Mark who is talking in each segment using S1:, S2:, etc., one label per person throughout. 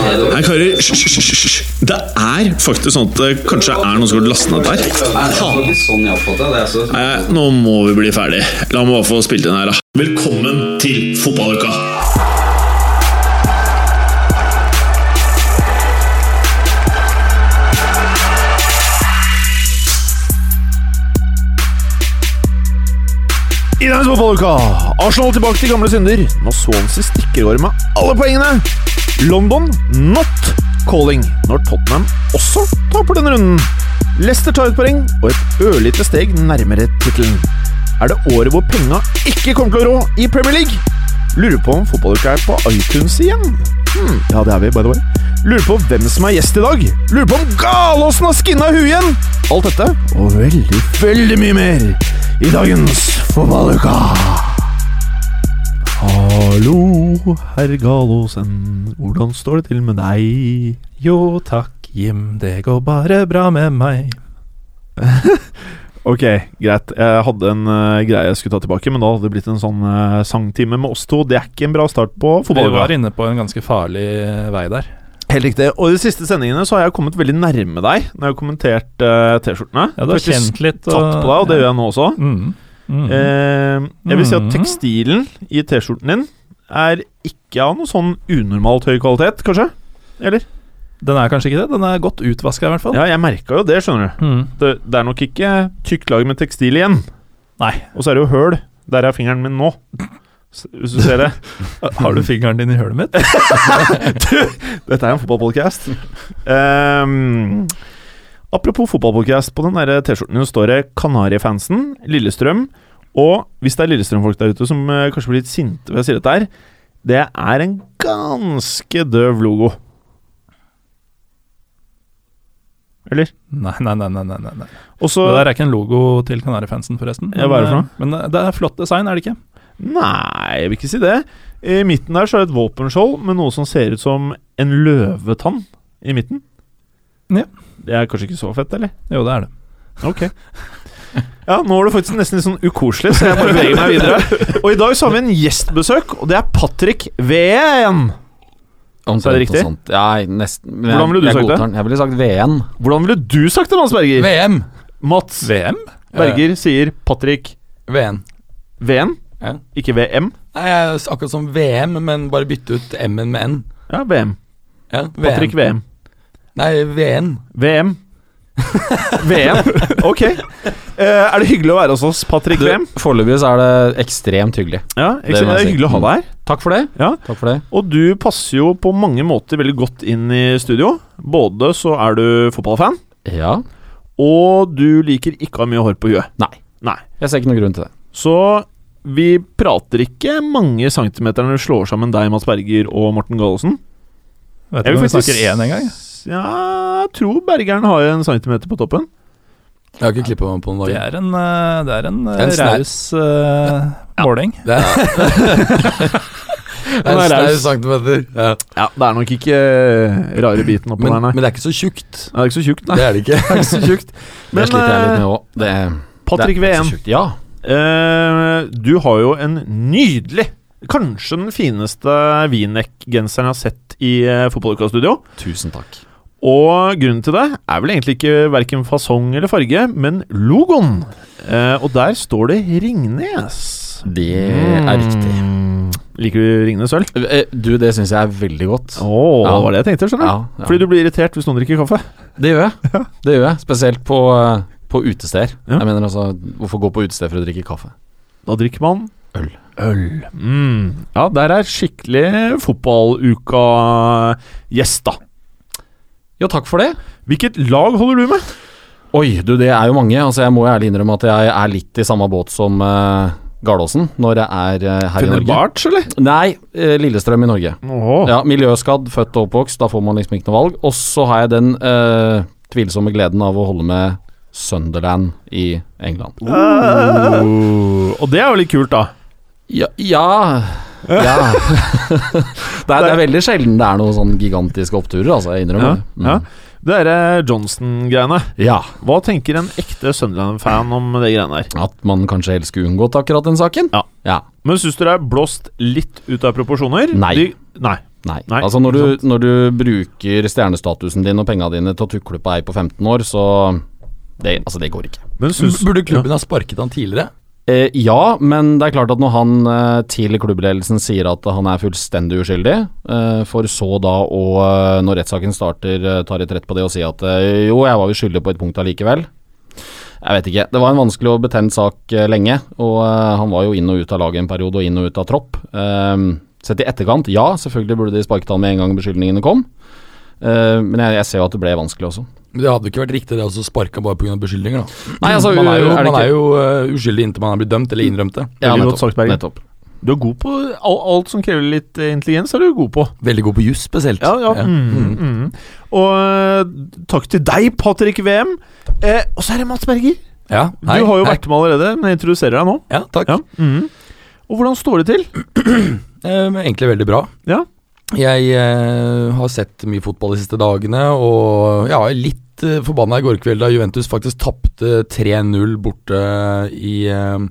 S1: hører hysj, hysj, hysj, hysj. Det er faktisk sånn at det kanskje er noen som har lastet ned der.
S2: var ikke sånn jeg oppfattet det. Altså.
S1: Nei, nå må vi bli ferdig. La meg bare få spilt inn her, da. Velkommen til fotballuka!
S3: I dagens fotballuka Arsenal tilbake til gamle synder når Swansea stikker over med alle poengene. London not calling når Tottenham også taper denne runden. Leicester tar et poeng og et ørlite steg nærmere tittelen. Er det året hvor penga ikke kommer til å rå i Premier League? Lurer på om fotballuka er på iTunes igjen? Hmm, ja, det er vi, by the way. Lurer på hvem som er gjest i dag. Lurer på om Galåsen har skinna huet igjen! Alt dette og veldig, veldig mye mer i dagens fotballuka. Hallo, herr Galåsen. Hvordan står det til med deg?
S4: Jo takk, Jim, det går bare bra med meg.
S3: Ok, greit. Jeg hadde en eh, greie jeg skulle ta tilbake, men da hadde det blitt en sånn eh, sangtime med oss to. Det er ikke en bra start på
S4: Vi var
S3: fotballuka.
S4: inne på en ganske farlig
S3: eh,
S4: vei der.
S3: Helt riktig. Og i de siste sendingene så har jeg kommet veldig nærme deg når jeg har kommentert eh, T-skjortene.
S4: Ja, du har
S3: Faktisk
S4: kjent litt
S3: tatt på deg, og det gjør jeg nå også.
S4: Mm. Mm.
S3: Eh, jeg vil si at
S4: Mhm.
S3: tekstilen i T-skjorten din er ikke av noe sånn unormalt høy kvalitet, kanskje? Eller?
S4: Den er kanskje ikke det? Den er godt utvaska, i hvert fall.
S3: Ja, jeg merka jo det, skjønner du.
S4: Mm.
S3: Det, det er nok ikke tykt lag med tekstil igjen.
S4: Nei.
S3: Og så er det jo høl. Der er fingeren min nå. S- Hvis du ser det.
S4: Har du fingeren din i hølet mitt?
S3: Dette er en fotballpodcast. Ehm, apropos fotballpodcast. På den der T-skjorten din står det Kanarifansen, Lillestrøm. Og hvis det er Lillestrøm-folk der ute som eh, kanskje blir litt sinte ved å si dette her, det er en ganske døv logo. Eller?
S4: Nei, nei, nei. nei, nei, nei, nei.
S3: Og så
S4: Det der er ikke en logo til Kanarifansen, forresten.
S3: Ja, hva er det for noe?
S4: Men eh, det er flott design, er det ikke?
S3: Nei, jeg vil ikke si det. I midten der så er det et våpenskjold med noe som ser ut som en løvetann i midten.
S4: Ja.
S3: Det er kanskje ikke så fett, eller?
S4: Jo, det er det.
S3: Ok. Ja, nå var det faktisk nesten litt sånn ukoselig, så jeg bare beveger meg videre. Og i dag så har vi en gjestbesøk, og det er Patrick Ven.
S2: Omtrent
S3: Er det riktig?
S2: noe Sånn sånt. Ja, nesten. Men
S3: Hvordan ville du
S2: jeg, jeg
S3: sagt det?
S2: godtar den. Jeg ville sagt VN.
S3: Hvordan ville du sagt det, Mats Berger?
S2: VM!
S3: Mats
S4: VM?
S3: Berger sier Patrick
S5: VN.
S3: Ven,
S5: Ja.
S3: ikke VM.
S5: Nei, jeg er akkurat som VM, men bare bytte ut M-en med N.
S3: Ja, VM.
S5: Ja, VM.
S3: Patrick VM.
S5: Nei, VN.
S3: VM. VM. Ok. Eh, er det hyggelig å være hos oss, Patrick
S2: Du,
S3: VM?
S2: Foreløpig så er det ekstremt hyggelig.
S3: Ja,
S2: Det
S3: ikke sant?
S2: må
S3: det
S2: jeg
S3: er
S2: si.
S3: hyggelig å ha deg her.
S2: Takk for det.
S3: Ja.
S2: Takk for det.
S3: Og du passer jo på mange måter veldig godt inn i studio. Både så er du fotballfan,
S2: Ja.
S3: og du liker ikke å ha mye hår på huet.
S2: Nei.
S3: Nei.
S2: Jeg ser ikke noen grunn til det.
S3: Så vi prater ikke mange centimeter når vi slår sammen deg, Mats Berger og Morten Gallosen.
S4: Vet ikke om vi snakker én engang.
S3: Ja, jeg tror Bergeren har en centimeter på toppen.
S5: Jeg har ikke klippa meg på noen
S4: Det
S5: dager.
S4: er en, eh, det er en, eh,
S5: En snau-
S4: raus eh, måling.
S5: Det er, det
S3: Den
S5: er
S3: er
S5: en snau
S3: raus.
S5: centimeter. Ja.
S3: Ja, Det er nok ikke eh, rare biten oppå
S5: Men,
S3: der, nei.
S5: men det er ikke så tjukt.
S3: det er ikke så tjukt, nei.
S5: Det er det ikke.
S3: Det er ikke så tjukt.
S2: Det
S3: Men
S2: sliter jeg litt
S3: eh,
S2: med òg. Det,
S3: Patrick
S2: det er ikke
S3: VM,
S2: så tjukt. Ja.
S3: Eh, du har jo en nydelig Kanskje den fineste Vinek-genseren jeg har sett i eh, fotballuka-studio.
S2: Tusen takk.
S3: Og grunnen til det er vel egentlig ikke verken fasong eller farge, men logoen. Eh, og der står det Ringnes.
S2: Det er riktig.
S3: Mm. Liker du Ringnes øl?
S2: Eh, Du, det syns jeg er veldig godt.
S3: Å, det var det jeg tenkte. skjønner
S2: Ja,
S3: du?
S2: ja.
S3: Fordi du blir irritert hvis noen drikker kaffe.
S2: Det gjør jeg. Det gjør jeg Spesielt på, eh, på utesteder.
S3: Ja.
S2: Jeg mener altså, Hvorfor gå på utested for å drikke kaffe?
S3: Da drikker man
S2: Øl.
S3: Øl. Mm. Ja, der er skikkelig fotballuka-gjest, da.
S2: Jo, takk for det.
S3: Hvilket lag holder du med?
S2: Oi, du, det er jo mange. Altså, Jeg må jo ærlig innrømme at jeg er litt i samme båt som uh, Garlåsen når jeg er eh, her i Norge.
S3: Fenerbahçe, eller?
S2: Nei, eh, Lillestrøm i Norge.
S3: Åh.
S2: Ja, Miljøskadd, født og oppvokst, da får man liksom ikke noe valg. Og så har jeg den eh, tvilsomme gleden av å holde med Sunderland i England.
S5: Uh.
S3: Oh. Og det er jo litt kult, da.
S2: Ja Ja. ja. det, er, det er veldig sjelden det er noen sånn gigantiske oppturer, altså. Jeg innrømmer det. Mm.
S3: Ja. Det derre Johnson-greiene.
S2: Ja,
S3: Hva tenker en ekte Sunderland-fan om det greiene der?
S2: at man kanskje helst skulle unngått akkurat den saken.
S3: Ja.
S2: ja.
S3: Men syns du det er blåst litt ut av proporsjoner?
S2: Nei.
S3: De, nei.
S2: Nei.
S3: Nei,
S2: altså når
S3: ikke
S2: du, når du bruker stjernestatusen din og penga dine til å tukle på ei på 15 år, så det, altså det går ikke.
S3: Men synes-
S5: Burde klubben ha sparket han tidligere?
S2: Eh, ja, men det er klart at når han eh, til klubbledelsen sier at han er fullstendig uskyldig, eh, for så da å, eh, når rettssaken starter, eh, ta retrett på det og si at eh, jo, jeg var jo skyldig på et punkt allikevel. Jeg vet ikke. Det var en vanskelig og betent sak eh, lenge, og eh, han var jo inn og ut av laget en periode, og inn og ut av tropp. Eh, sett i etterkant, ja, selvfølgelig burde de sparket han med en gang beskyldningene kom, eh, men jeg, jeg ser jo at det ble vanskelig også.
S5: Men Det hadde jo ikke vært riktig det å sparke han bare pga. beskyldninger. da
S2: Nei, altså,
S5: Man er jo,
S2: er det
S5: man
S2: ikke-
S5: er jo øh, uskyldig inntil man er blitt dømt eller innrømt det.
S3: Veldig godt sagt, Bergen.
S2: nettopp.
S3: Du er god på al- alt som krever litt eh, intelligens, er du god på.
S5: Veldig god på juss, spesielt.
S3: Ja, ja. Mm,
S5: Mm.
S3: mm. Og eh, takk til deg, Patrick VM. Eh, og så er det Mats Berger.
S5: Ja,
S3: Du
S5: hei,
S3: har jo
S5: hei.
S3: vært med allerede, men jeg introduserer deg nå.
S5: Ja, takk.
S3: Ja. Mm. Og hvordan står det til?
S5: Eh, men egentlig veldig bra.
S3: Ja.
S5: Jeg eh, har sett mye fotball de siste dagene, og ja, litt eh, forbanna i går kveld da Juventus faktisk tapte 3-0 borte i eh,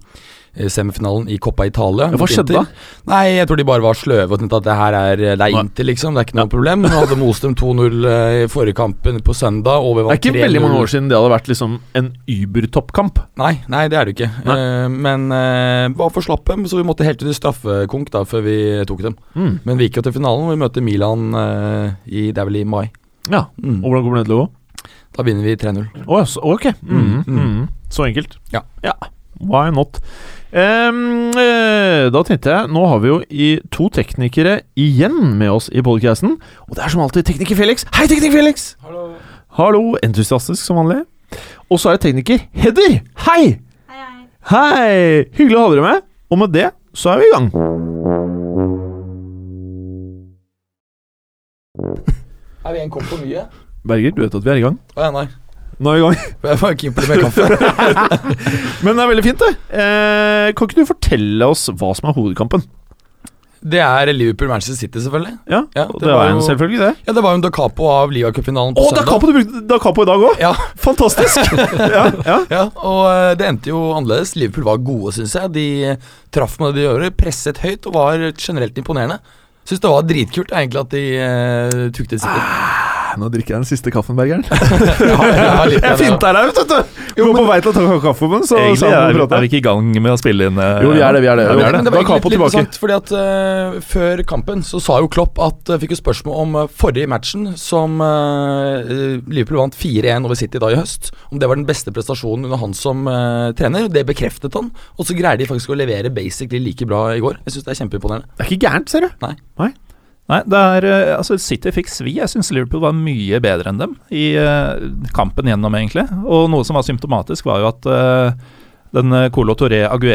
S5: semifinalen i Coppa Italia.
S3: Ja, hva
S5: mot
S3: skjedde
S5: Inter.
S3: da?
S5: Nei, jeg tror de bare var sløve og tenkte at det her er, det er
S3: Nei.
S5: Inter, liksom. Det er ikke noe problem. Nå hadde most dem 2-0 eh, i forrige kampen på søndag, og
S3: Det
S5: vi
S3: er
S5: vant 3-0.
S3: ikke veldig mange år siden det hadde vært liksom en Uber-toppkamp.
S5: Nei, nei, det er det ikke. Eh, men eh, var for slappe, så vi måtte helt ut i straffekonk da før vi tok dem.
S3: Mm.
S5: Men vi gikk jo til finalen, og vi møter Milan eh, i, det er vel i mai.
S3: Ja.
S5: Mm.
S3: Og hvordan kommer det til å gå?
S5: Da vinner vi 3-0.
S3: Å, ja, så- ok. Mm.
S5: Mm.
S3: Mm. Så enkelt.
S5: Ja.
S3: Why not? Ehm, eh, da tenkte jeg Nå har vi jo i to teknikere igjen med oss i podcasten. Og det er som alltid tekniker Felix. Hei, tekniker Felix! Hallo. Entusiastisk som vanlig. Og så er det tekniker Hedder. Hei! Hei! Hyggelig å ha dere med. Og med det så er vi i gang.
S5: Er vi en kopp for mye?
S3: Berger, du vet at vi er i gang?
S5: Å ja, nei.
S3: Nå er vi i gang.
S5: Jeg var ikke imponert med kaffe.
S3: Men det er veldig fint, det. Eh, kan ikke du fortelle oss hva som er hovedkampen?
S5: Det er Liverpool-Manchester City, selvfølgelig.
S3: Ja,
S5: Ja,
S3: Det, var jo selvfølgelig det.
S5: Ja, det var jo en Da Capo av Liga-cupfinalen
S3: Å,
S5: på
S3: det er Capo du brukte det er Capo i dag òg!
S5: Ja,
S3: Fantastisk! ja, ja.
S5: ja, og eh, det endte jo annerledes. Liverpool var gode, syns jeg. De eh, traff med det de gjorde, presset høyt og var generelt imponerende. Syns det var dritkult egentlig at de uh, tuktet City.
S3: Nå drikker jeg den siste kaffen, Bergeren.
S5: Ja, ja, litt
S3: jeg
S5: av det, ja.
S3: finta deg ut, vet du! Vi var på vei til å ta kaffe, men så
S4: Egentlig
S3: så
S4: er,
S3: jeg må
S4: er
S3: prate.
S4: vi ikke i gang med å spille inn eh,
S3: Jo, vi er det, vi er det.
S4: Ja,
S3: Jo,
S4: vi er
S5: Men
S4: det.
S5: det
S3: Da
S5: var
S3: er
S5: egentlig
S3: Capo
S5: litt, litt
S3: tilbake.
S5: interessant, fordi at eh, Før kampen så sa jo Klopp at uh, fikk jo spørsmål om eh, forrige matchen, som eh, eh, Liverpool vant 4-1 over City da i høst. Om det var den beste prestasjonen under han som eh, trener. Det bekreftet han. Og så greier de faktisk å levere basically like bra i går. Jeg syns det er kjempeimponerende.
S3: Det er ikke gærent, ser du.
S4: Nei, det er, eh, altså City fikk svi. Jeg syns Liverpool var mye bedre enn dem i eh, kampen gjennom, egentlig. Og noe som var symptomatisk, var jo at eh, den eh, Colo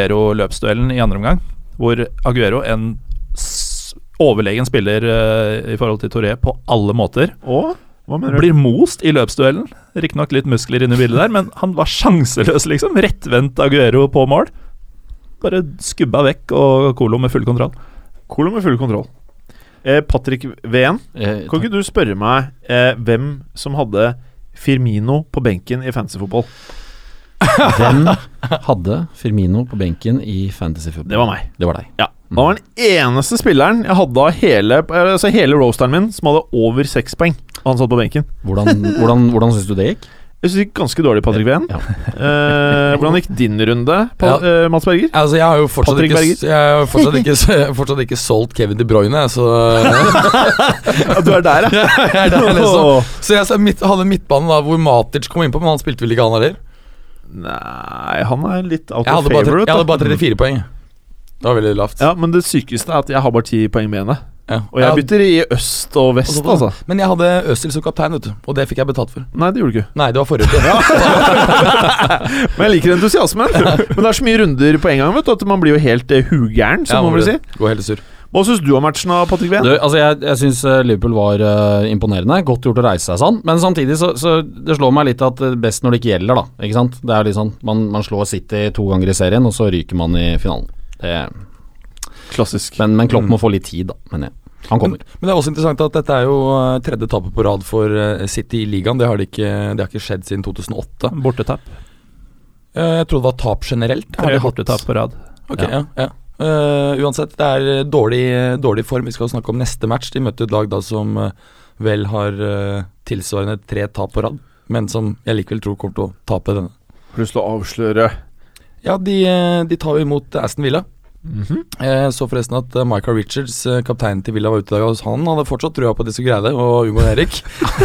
S4: Torre-Aguero-løpsduellen i andre omgang, hvor Aguero, en s overlegen spiller eh, i forhold til Torre på alle måter,
S3: Og hva mener du?
S4: blir most i løpsduellen. Riktignok litt muskler inne i bildet der, men han var sjanseløs, liksom. Rettvendt Aguero på mål. Bare skubba vekk og Colo med full kontroll.
S3: Colo med full kontroll. Eh, Patrick Ven,
S2: Eh,
S3: kan ikke du spørre meg eh, hvem som hadde Firmino på benken i fantasyfotball?
S2: Den Eh, hadde Firmino på benken i Fantasy Football.
S3: Det var meg.
S2: Det var deg.
S3: Ja. Han var den eneste spilleren jeg hadde av hele, altså hele roasteren min som hadde over seks poeng. Han satt på benken.
S2: Hvordan, hvordan, hvordan syns du det gikk?
S3: Jeg synes det gikk ganske dårlig, Patrick Ween.
S2: Ja.
S3: Eh, hvordan gikk din runde, pa eh, Mats Berger?
S5: Altså, jeg har jo fortsatt
S3: Patrick
S5: ikke,
S3: Berger.
S5: s- jeg har jo fortsatt ikke, s- jeg har fortsatt ikke solgt Kevin De Bruyne, så
S3: Ja, du er der, ja.
S5: jeg er der, liksom. Så jeg sa midt, hadde midtbanen da hvor Matic kom innpå, men han spilte vel ikke han heller.
S3: Nei, han er litt out
S5: Jeg
S3: of
S5: hadde bare, tre-
S3: favorite.
S5: jeg hadde bare
S3: da.
S5: 34 poeng. Det var veldig lavt.
S3: Ja, Men det sykeste er at jeg har bare ti poeng med henne.
S5: Ja.
S3: Og jeg
S5: Ja,
S3: bytter i øst og vest,
S5: Og så-
S3: altså.
S5: Men jeg hadde Øzil som kaptein, vet du. Og det fikk jeg betalt for.
S3: Nei, det gjorde du ikke.
S5: Nei, det var forrige uke.
S3: Men jeg liker entusiasmen. Men det er så mye runder på en gang vet du, at man blir jo helt eh, hugæren, som man vil si.
S5: Gå helt sur.
S3: Hva syns du om matchen, da, Patrick Ween?
S2: Du, altså jeg jeg syns Liverpool var eh, imponerende. Godt gjort å reise seg sånn. Men samtidig så, så det slår meg litt at det er best når det ikke gjelder, da. Ikke sant? Det er litt sånn, man, man slår City to ganger i serien, og så ryker man i finalen. Det,
S3: Klassisk.
S2: men, men Klopp må få litt tid, da, mener jeg. Han kommer.
S5: Men det er også interessant at dette er jo eh, tredje tapet på rad for eh, City i ligaen. Det har, det ikke, det har ikke skjedd siden 2008.
S4: Bortetap.
S5: Eh, Jeg tror det var tap generelt. Har
S4: Tre
S5: de hatt-
S4: bortetap på rad.
S5: Ok, ja. ja. Eh, uansett, det er dårlig, eh, dårlig form. Vi skal snakke om neste match. De møtte et lag da som eh, vel har eh, tilsvarende tre tap på rad, men som jeg likevel tror kommer til å tape denne.
S3: Har du lyst til å avsløre
S5: Ja, de, eh, de tar jo imot Aston Villa. Jeg så forresten at eh, Michael Richards, eh, kapteinen til Villa, var ute i dag. og Han hadde fortsatt trua på at de skulle greie det, og Umon Erik.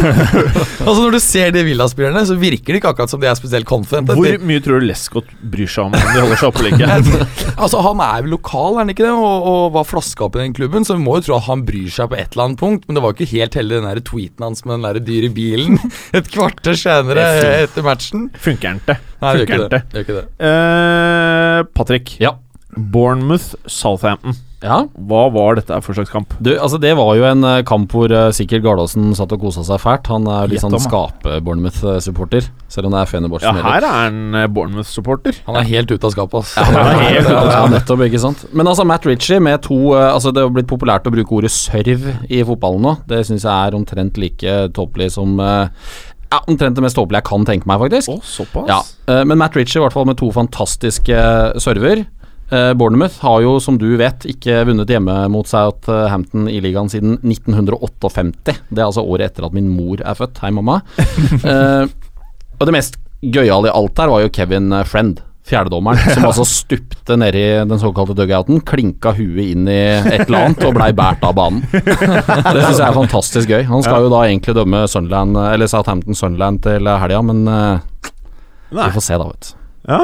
S5: altså Når du ser de Villa-spillerne, så virker det ikke akkurat som de er spesielt confident.
S3: Hvor mye tror du Lescott bryr seg om om de holder seg oppe eller ikke?
S5: altså Han er vel lokal, er han ikke det? Og, og var flaska opp i den klubben, så vi må jo tro at han bryr seg på et eller annet punkt. Men det var jo ikke helt heldig, den der tweeten hans med den der dyre bilen et kvarter senere eh, etter matchen.
S3: Funker han ikke?
S5: Nei, det gjør ikke
S3: Funker
S5: det.
S3: ikke.
S5: det, gjør ikke det.
S3: Eh, Patrick.
S2: Ja.
S3: Bournemouth, Southampton.
S2: Ja,
S3: Hva var dette her for slags kamp?
S2: du, altså Det var jo en eh, kamp hvor eh, sikkert Gardaasen satt og kosa seg fælt. Han er jo litt
S3: Gjett
S2: sånn
S3: om, da.
S2: skape-Bournemouth-supporter, selv om det er Fenerbahçe
S3: Ja,
S2: som gjelder.
S3: her er han eh, Bournemouth-supporter.
S5: Han er helt ute av skapet, ass.
S3: er helt ute av
S2: Ja, nettopp, ikke sant. Men altså, Matt Ritchie med to eh, Altså, det har blitt populært å bruke ordet sørv i fotballen nå. Det syns jeg er omtrent like tåpelig som eh, Ja, omtrent det mest tåpelige jeg kan tenke meg, faktisk.
S3: Å, såpass?
S2: Ja, eh, men Matt Ritchie i hvert fall med to fantastiske server. Eh, Bournemouth har jo, som du vet, ikke vunnet hjemme mot Southampton i ligaen siden 1958. Det er altså året etter at min mor er født. Hei, mamma. Eh, og det mest gøyale i alt her var jo Kevin eh, Friend, fjerdedommeren, som altså stupte nedi den såkalte dugouten, klinka huet inn i et eller annet og blei båret av banen. Det syns jeg er fantastisk gøy. Han skal jo da egentlig dømme Sunderland, eh, eller Southampton Sunderland til helga, men eh,
S3: Nei.
S2: vi får se, da, vet du.
S3: Ja.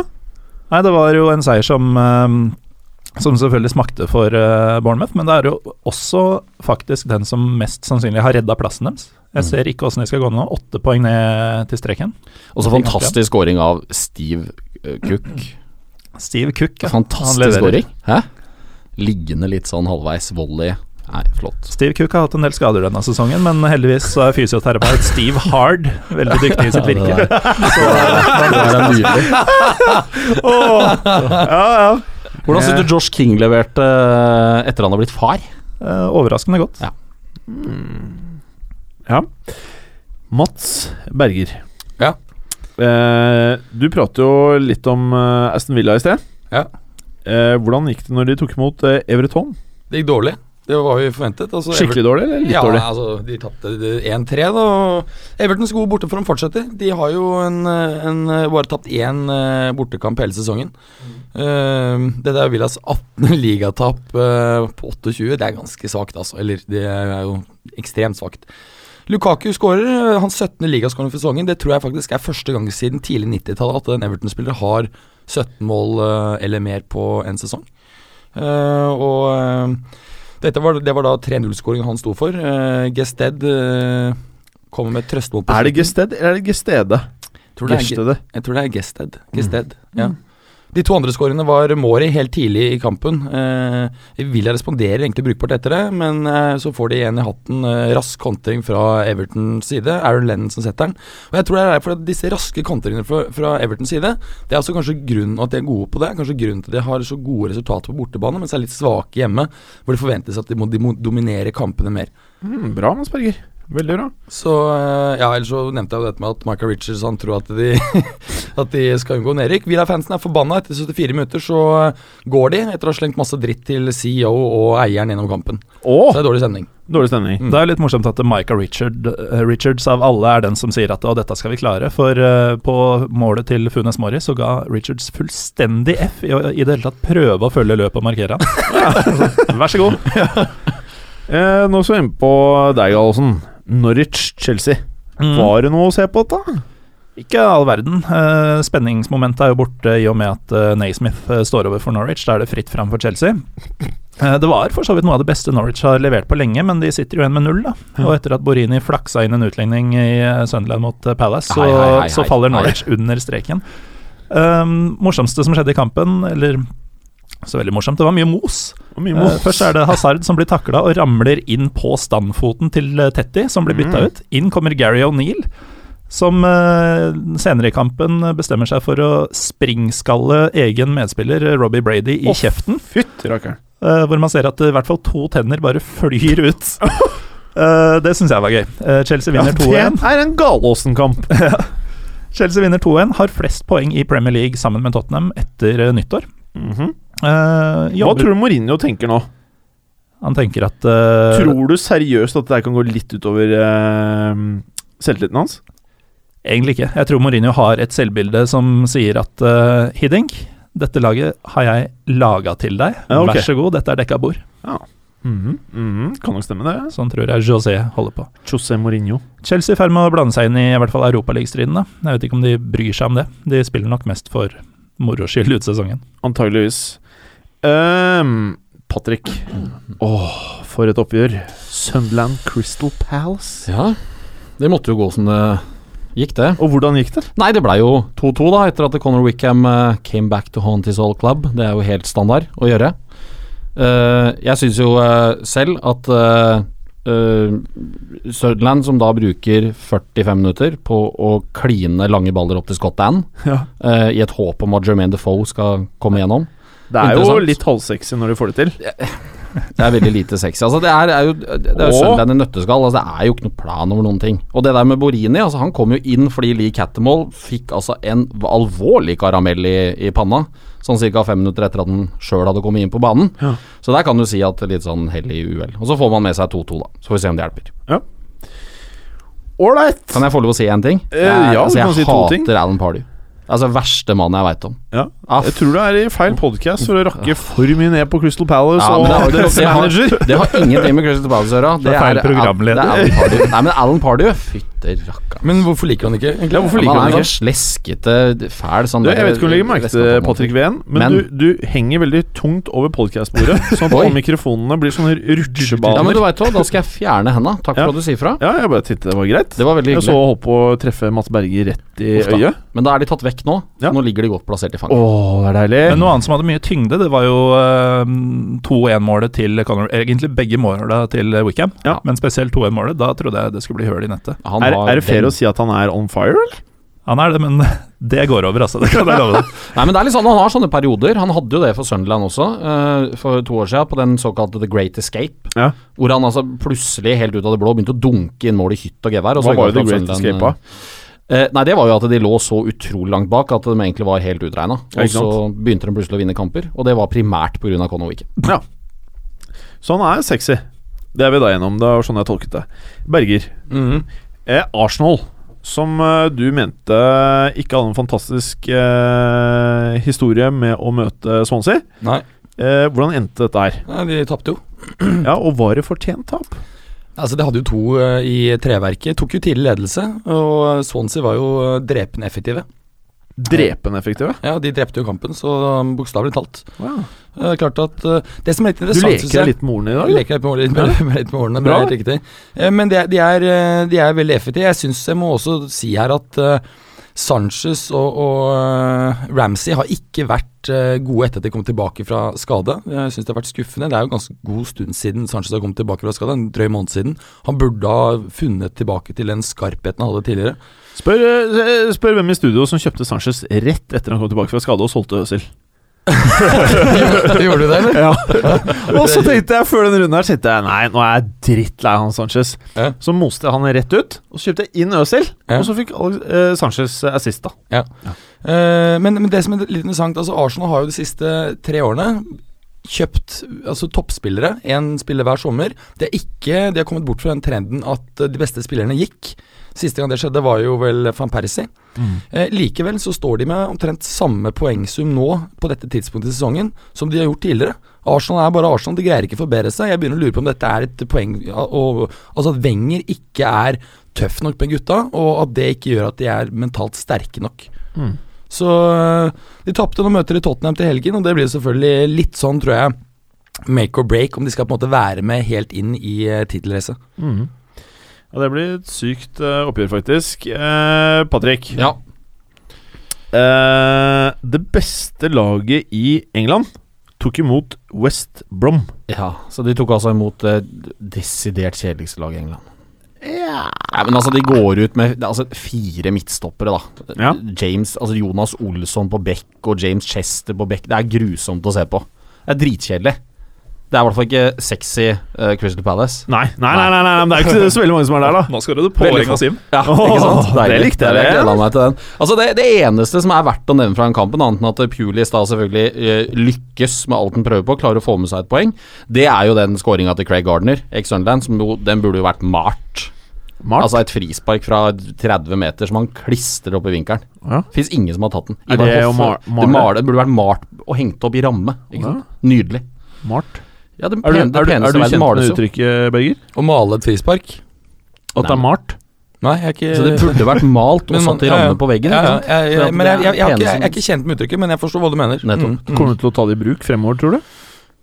S4: Nei, det var jo en seier som eh, som selvfølgelig smakte for eh, Bournemouth, men det er jo også faktisk den som mest sannsynlig har redda plassen deres.
S2: Mm.
S4: Jeg ser ikke åssen de skal gå nå. Åtte poeng ned til streken.
S2: Og så fantastisk scoring av Steve eh, Cook.
S4: Steve Cook. ja. Han
S2: Fantastisk
S4: leverer.
S2: scoring. Hæ? Liggende litt sånn halvveis volley. Nei, flott.
S4: Steve Cook har hatt en del skader denne sesongen, men heldigvis så er fysioterapeut Steve Hard veldig dyktig i sitt virke.
S2: Hvordan syns du Josh King leverte eh, etter han har blitt far?
S4: Eh, Overraskende godt.
S2: Ja.
S3: Mm. ja. Mats Berger.
S5: Ja.
S3: Eh, du pratet jo litt om eh, Aston Villa i sted.
S5: Ja.
S3: Eh, hvordan gikk det når de tok imot eh, Everton?
S5: Det gikk dårlig. Det var jo forventet. Altså,
S3: Skikkelig dårlig, eller litt
S5: ja,
S3: dårlig?
S5: altså, de tapte det 1-3, da. og Evertons gode borteform fortsetter. De har jo en, eh, en, eh, bare tapt én eh, bortekamp hele sesongen. Eh, Dette er Villas 18. ligatap eh, på 28. Det er ganske svakt, altså. Eller det er jo ekstremt svakt. Lukaku skårer eh, hans 17. ligaskåring for sesongen. Det tror jeg faktisk er første gang siden tidlig 90-tallet at en Everton-spiller har 17 mål eh, eller mer på en sesong. Eh, og eh, dette var, det var da 3-0-skåringen han sto for. Uh, Gested eh, kommer med et trøstemål på
S3: Er det
S5: slutten.
S3: Gested, eller er det Gestede?
S5: Tror det er Ge-
S3: Gestede.
S5: Jeg tror det er Gested. Gested ja. Mm. De to andre skåringene var Mori helt tidlig i kampen. Eh, Villa responderer egentlig brukbart etter det, men eh, så får de igjen i hatten eh, rask kontring fra Evertons side. Aaron Lennon som setter den. Og jeg tror det er derfor at disse raske kontringene fra, fra Evertons side, det er også kanskje grunnen at de er gode på det. Kanskje grunnen til at de har så gode resultater på bortebane, mens de er litt svake hjemme, hvor det forventes at de må, de må dominere kampene mer.
S3: Mm, bra, Mats Berger. Veldig bra.
S5: Så eh, ja, ellers så nevnte jeg jo dette med at Michael Richards han tror at de, at de skal unngå Nerik. Villa-fansen er forbanna. Etter 74 minutter så eh, går de, etter å ha slengt masse dritt til CEO og eieren gjennom kampen.
S3: Å,
S5: Så det er dårlig stemning.
S3: dårlig stemning.
S4: Det er jo litt morsomt at Micah Richard, eh, Richards av alle er den som sier at å, dette skal vi klare. For eh, på målet til Funes Mori så ga Richards fullstendig F i å i det hele tatt prøve å følge løpet og markere han.
S3: Vær så god. eh, nå skal vi inn på deg, Gallosen. Norwich-Chelsea.
S4: Var-
S3: Var det noe å se på, da?
S4: Ikke all verden. Eh, Spenningsmomentet er jo borte i og med at eh, Naismith eh, står over for Norwich. Da er det fritt fram for Chelsea. Eh, Det var for så vidt noe av det beste Norwich har levert på lenge, men de sitter jo igjen med null. da Og etter at Borini flaksa inn en utligning i eh, Sunderland mot eh, Palace, så,
S2: Hei, hei, hei,
S4: så
S2: hei.
S4: faller Norwich under streken. Um, morsomste som skjedde i kampen, eller så veldig morsomt, det var mye mos.
S3: Og mye
S4: Eh, først er det Hazard som blir takla og ramler inn på standfoten til eh, Tetty, som blir bytta
S3: Mm.
S4: ut. Inn kommer Gary O'Neill, som eh, senere i kampen bestemmer seg for å springskalle egen medspiller eh, Robbie Brady i
S3: Å,
S4: kjeften.
S3: Fytti rakkeren.
S4: eh, hvor man ser at eh, i hvert fall to tenner bare flyr ut. Eh, det syns jeg var gøy. Eh, Chelsea vinner 2-1.
S3: det er en Gallosen-kamp.
S4: Chelsea vinner 2-1, har flest poeng i Premier League sammen med Tottenham etter eh, nyttår. Eh,
S3: Hva
S4: jobber,
S3: Mhm. tror du Mourinho tenker nå?
S4: han tenker at eh,
S3: Tror du seriøst at det her kan gå litt utover eh, selvtilliten hans?
S4: Egentlig ikke. Jeg tror Mourinho har et selvbilde som sier at eh, Hiddink, dette laget har jeg laga til deg.
S3: Ja, ok.
S4: Vær så god, dette er dekka bord.
S3: Mhm, Kan nok stemme det.
S4: Sånn tror jeg José holder på.
S3: José Mourinho.
S4: Chelsea er i ferd med å blande seg inn i i hvert fall Europaligastriden. da. Jeg vet ikke om de bryr seg om det. De spiller nok mest for moro skyld ut sesongen.
S3: Antageligvis. Ehm, Patrick. Åh, for et oppgjør. Mhm. Sunderland Crystal Palace.
S2: Ja, det måtte jo gå som det gikk, det.
S3: Og hvordan gikk det?
S2: Nei, det blei jo 2-2, da, etter at Conor Wickham eh, came back to haunt his old club. Det er jo helt standard å gjøre. Eh, jeg syns jo eh, selv at eh, eh, Sutherland, som da bruker 45 minutter på å kline lange baller opp til Scott Ann,
S3: Ja.
S2: eh, i et håp om at Jermaine Defoe skal komme igjennom
S3: Det er jo
S2: Interessant.
S3: litt halvsexy når du får det til.
S2: Det er veldig lite sexy. Altså, det er, er jo, det er jo
S3: Og-
S2: Sunderland i nøtteskall. Altså, det er jo ikke noe plan over noen ting. Og det der med Borini, altså, han kom jo inn fordi Lee Cattermall fikk altså en v- alvorlig karamell i, i panna. Sånn ca. fem minutter etter at han sjøl hadde kommet inn på banen.
S3: Ja.
S2: Så der kan du si at det er litt sånn hell i uhell. Og så får man med seg 2-2, da. Så får vi se om det hjelper.
S3: Ålreit!
S2: Kan jeg få lov å si én ting?
S3: Eh, ja, du
S2: altså,
S3: kan
S2: jeg
S3: si to ting.
S2: hater Alan Pardew. Altså verste mannen jeg veit om.
S3: Ja.
S2: Ah,
S3: Jeg tror du er i feil podkast for å rakke for mye ned på Crystal Palace
S2: Ja, men det har
S3: og
S2: ikke-
S3: deres
S2: det har-
S3: manager.
S2: Det har ingenting med Crystal Palace å gjøre.
S4: Det er feil programleder.
S2: Det er Alan Pardew. Nei, men Alan Pardew Fytte rakka.
S5: Men hvorfor liker han ikke? egentlig?
S3: Ja, hvorfor
S2: Ja,
S3: liker
S2: men
S3: han
S2: han
S3: det
S2: er en
S3: ikke?
S2: sånn sleskete, fæl sånn
S3: Du,
S2: der-
S3: jeg vet ikke om du legger merke til det, Patrick Ven, men,
S2: Men-
S3: du, du henger veldig tungt over podkastbordet. Sånn at
S2: Oi.
S3: alle mikrofonene blir sånne rutsjebaner.
S2: Ja, men du vet hva, da skal jeg fjerne henda. Takk
S3: Ja.
S2: for at du sier fra.
S3: Ja, jeg bare tittet, det var greit.
S2: Det var veldig
S3: jeg så
S2: hyggelig.
S3: holdt på å treffe Mats Berger rett i
S2: Uff da.
S3: øyet.
S2: Men da er de tatt vekk nå.
S3: Ja.
S2: Nå ligger de godt plassert i fanget.
S3: Å, det er deilig.
S4: Men noe annet som hadde mye tyngde, det var jo eh, 2-1-målet til Conor eh, Egentlig begge måla til Wickham,
S3: Ja.
S4: men spesielt 2-1-målet. Da trodde jeg det skulle bli høl i nettet.
S2: Han
S3: er,
S2: har
S3: er det fair
S2: den-
S3: å si at han er on fire, eller?
S4: Han er det, men det går over, altså. Det kan jeg love deg.
S2: Nei, men det er litt sånn, Han har sånne perioder. Han hadde jo det for Sunderland også, eh, for to år siden, på den såkalte The Great Escape.
S3: Ja.
S2: Hvor han altså plutselig, helt ut av det blå, begynte å dunke inn mål i hytt og gevær. og
S3: Hva
S2: så gikk
S3: var
S2: han
S3: jo The
S2: fra
S3: Great
S2: Sunderland,
S3: Escape av?
S2: Eh, nei, det var jo at de lå så utrolig langt bak at de egentlig var helt utregna.
S3: Ja,
S2: Og
S3: ikke
S2: så begynte de plutselig å vinne kamper, og det var primært pga. Conor Wickham.
S3: Så han Sånn er sexy. Det er vi da gjennom. Det var sånn jeg tolket det. Berger,
S5: Mhm.
S3: eh, Arsenal, som eh, du mente ikke hadde en fantastisk eh, historie med å møte Swansea.
S5: Nei,
S3: Eh, hvordan endte dette her?
S5: Nei, de tapte jo.
S3: Ja, og var det fortjent tap?
S5: Altså, De hadde jo to eh, i treverket. Tok jo tidlig ledelse, og Swansea var jo eh, drepende effektive.
S3: Drepende effektive.
S5: Ja, De drepte jo kampen, så eh, bokstavelig talt.
S3: Wow.
S5: Eh, klart at eh, Det som er litt
S3: Du
S5: interessant
S3: leker
S5: synes
S3: deg
S5: jeg-
S3: litt med ordene i dag.
S5: Jeg
S3: du.
S5: leker litt med ordene, med, litt med ordene men
S3: Bra.
S5: det er helt riktig. Eh, Men de er, de er, eh, de er veldig effektive. Jeg syns jeg må også si her at eh, Sanchez og, og eh, Ramsey har ikke vært eh, gode etter at de kom tilbake fra skade. Jeg syns det har vært skuffende. Det er jo ganske god stund siden Sanchez har kommet tilbake fra skade, en drøy måned siden. Han burde ha funnet tilbake til den skarpheten han hadde tidligere.
S3: Spør, eh, spør hvem i studio som kjøpte Sanchez rett etter han kom tilbake fra skade og solgte Øsil.
S5: Gjorde du det, eller?
S3: Og så tenkte jeg før den runden her tenkte jeg, Nei, nå er jeg drittlei han Sanchez.
S5: Ja.
S3: Så moste jeg han rett ut, og så kjøpte jeg inn Øsil.
S5: Ja.
S3: Og så fikk Alex, eh, Sanchez assist, da.
S5: Eh, men, men det som er litt interessant, altså Arsenal har jo de siste tre årene kjøpt altså toppspillere, én spiller hver sommer. De, er ikke, de har kommet bort fra den trenden at eh, de beste spillerne gikk. Siste gang det skjedde, var jo vel van Persie. Eh, likevel så står de med omtrent samme poengsum nå på dette tidspunktet i sesongen som de har gjort tidligere. Arsenal er bare Arsenal, de greier ikke å forbedre seg. Jeg begynner å lure på om dette er et poeng ja, og, Altså at Wenger ikke er tøff nok med gutta, og at det ikke gjør at de er mentalt sterke nok. Så øh, de tapte noen møter i Tottenham til helgen, og det blir selvfølgelig litt sånn, tror jeg, make or break, om de skal på en måte være med helt inn i uh, tittelracet.
S3: Mm. Ja, Det blir et sykt eh, oppgjør, faktisk. Eh, Patrick,
S2: Ja.
S3: eh, det beste laget i England tok imot West Brom.
S2: ja. Så de tok altså imot det desidert kjedeligste laget i England. Nei, men altså, de går ut med det er altså, fire midtstoppere, da.
S3: Ja.
S2: James, altså Jonas Olsson på bekk og James Chester på bekk. Det er grusomt å se på. Det er dritkjedelig. Det er i hvert fall ikke sexy eh, Crystal Palace.
S3: Nei, nei, nei, nei, nei, men det er jo ikke så veldig mange som er der, da.
S4: Nå skal du pålegge av Sim.
S2: Ja,
S3: Åh, det
S2: Deilig.
S3: likte jeg,
S2: Deilig.
S3: det.
S2: gleder meg til den. Altså det, det eneste som er verdt å nevne fra den kampen, annet enn at Pulis da selvfølgelig eh, lykkes med alt han prøver på, klarer å få med seg et poeng, det er jo den skåringa til Craig Gardner, ex-Sunderland, som jo, den burde jo vært mart.
S3: Mart.
S2: Altså et frispark fra 30 meter som han klistrer opp i vinkelen.
S3: Ja.
S2: Fins ingen som har tatt den.
S3: Er det å mar-
S2: det,
S3: male?
S2: male- det burde vært malt og hengt opp i ramme. Ikke sant? Nydelig.
S3: Mart.
S2: Ja, det
S3: Er du,
S2: pen- det
S3: er du, er du
S2: peneste i verden
S3: kjent med
S2: males
S3: det
S2: jo.
S3: uttrykket, Berger?
S5: Å male et frispark?
S3: At det er mart?
S5: Nei, jeg er ikke
S2: Så det burde vært malt og
S5: Men man-
S2: satt i
S5: ja, ja.
S2: ramme på veggen.
S5: ja,
S2: Ikke
S5: ja,
S2: sant?
S5: jeg, jeg, men jeg, jeg, jeg, har ikke-
S2: Peneste-
S5: jeg, jeg er ikke kjent med uttrykket, men jeg forstår hva du mener.
S2: Nettopp.
S5: Mm.
S3: Kommer du til å ta det i bruk fremover, tror du?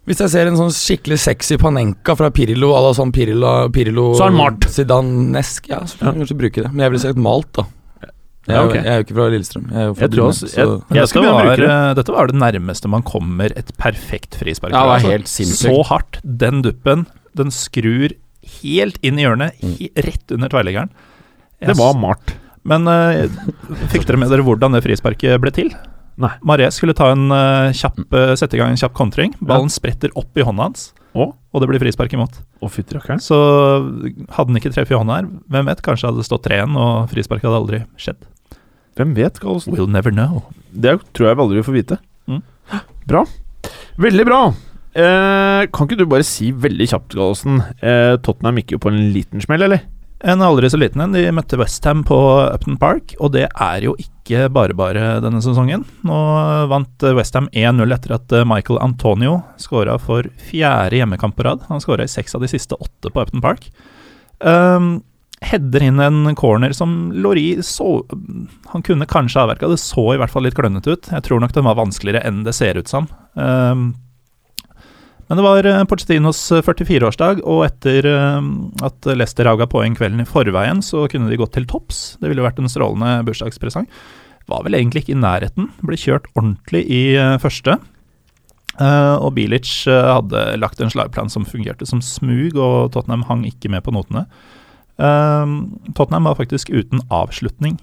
S5: Hvis jeg ser en sånn skikkelig sexy panenka fra Pirlo, à la sånn Pirlo, Pirlo
S3: Så er den malt.
S5: Zidanesk, ja, så kan jeg kanskje bruke det. Men jeg ville sagt malt, da. Jeg, er
S3: Ja,
S5: jo-
S3: ok.
S5: jeg er jo ikke fra Lillestrøm. Jeg er jo fra
S3: Jeg tror
S5: Bryne,
S3: også- jeg-
S5: så-
S3: Jeg skal
S4: Dette
S3: begynne å
S4: var,
S3: bruke det.
S4: eh, dette var det nærmeste man kommer et perfekt frispark.
S2: Ja, det var
S4: Altså,
S2: helt sinnssykt.
S4: Så hardt. Den duppen, den skrur helt inn i hjørnet,
S2: Mm.
S4: he- rett under tverrleggeren.
S3: Det var mart.
S4: Men eh, fikk dere med dere hvordan det frisparket ble til?
S3: Nei.
S4: Maré skulle ta en, eh, kjapp,
S2: Mm.
S4: eh, sette i gang en kjapp kontring. Ballen spretter opp i hånda hans,
S3: Å?
S4: og det blir frispark imot.
S3: Å, fytti rakkeren.
S4: Så hadde han ikke treff i hånda her, hvem vet, kanskje hadde det stått 3-1, og frispark hadde aldri skjedd.
S3: Hvem vet, Karlsen?
S4: We'll never know.
S3: Det tror jeg vi aldri får vite.
S4: Mm.
S3: Bra. Veldig bra. Eh, kan ikke du bare si veldig kjapt, Gallosen eh, Tottenham gikk jo på en liten smell, eller?
S4: En aldri så liten en. De møtte Westham på Upton Park, og det er jo ikke bare-bare denne sesongen. Nå vant Westham 1-0 etter at eh, Michael Antonio skåra for fjerde hjemmekamp på rad. Han skåra i seks av de siste åtte på Upton Park. Um, Header inn en corner som Laurie så Han kunne kanskje avverka, det så i hvert fall litt klønete ut. Jeg tror nok den var vanskeligere enn det ser ut som. Um, men det var eh, Pochettinos eh, 44-årsdag, og etter eh, at Leicester raga poeng kvelden i forveien, så kunne de gått til topps. Det ville vært en strålende bursdagspresang. Var vel egentlig ikke i nærheten. Ble kjørt ordentlig i eh, første. Eh, og Bilic eh, hadde lagt en slagplan som fungerte som smug, og Tottenham hang ikke med på notene. Eh, Tottenham var faktisk uten avslutning.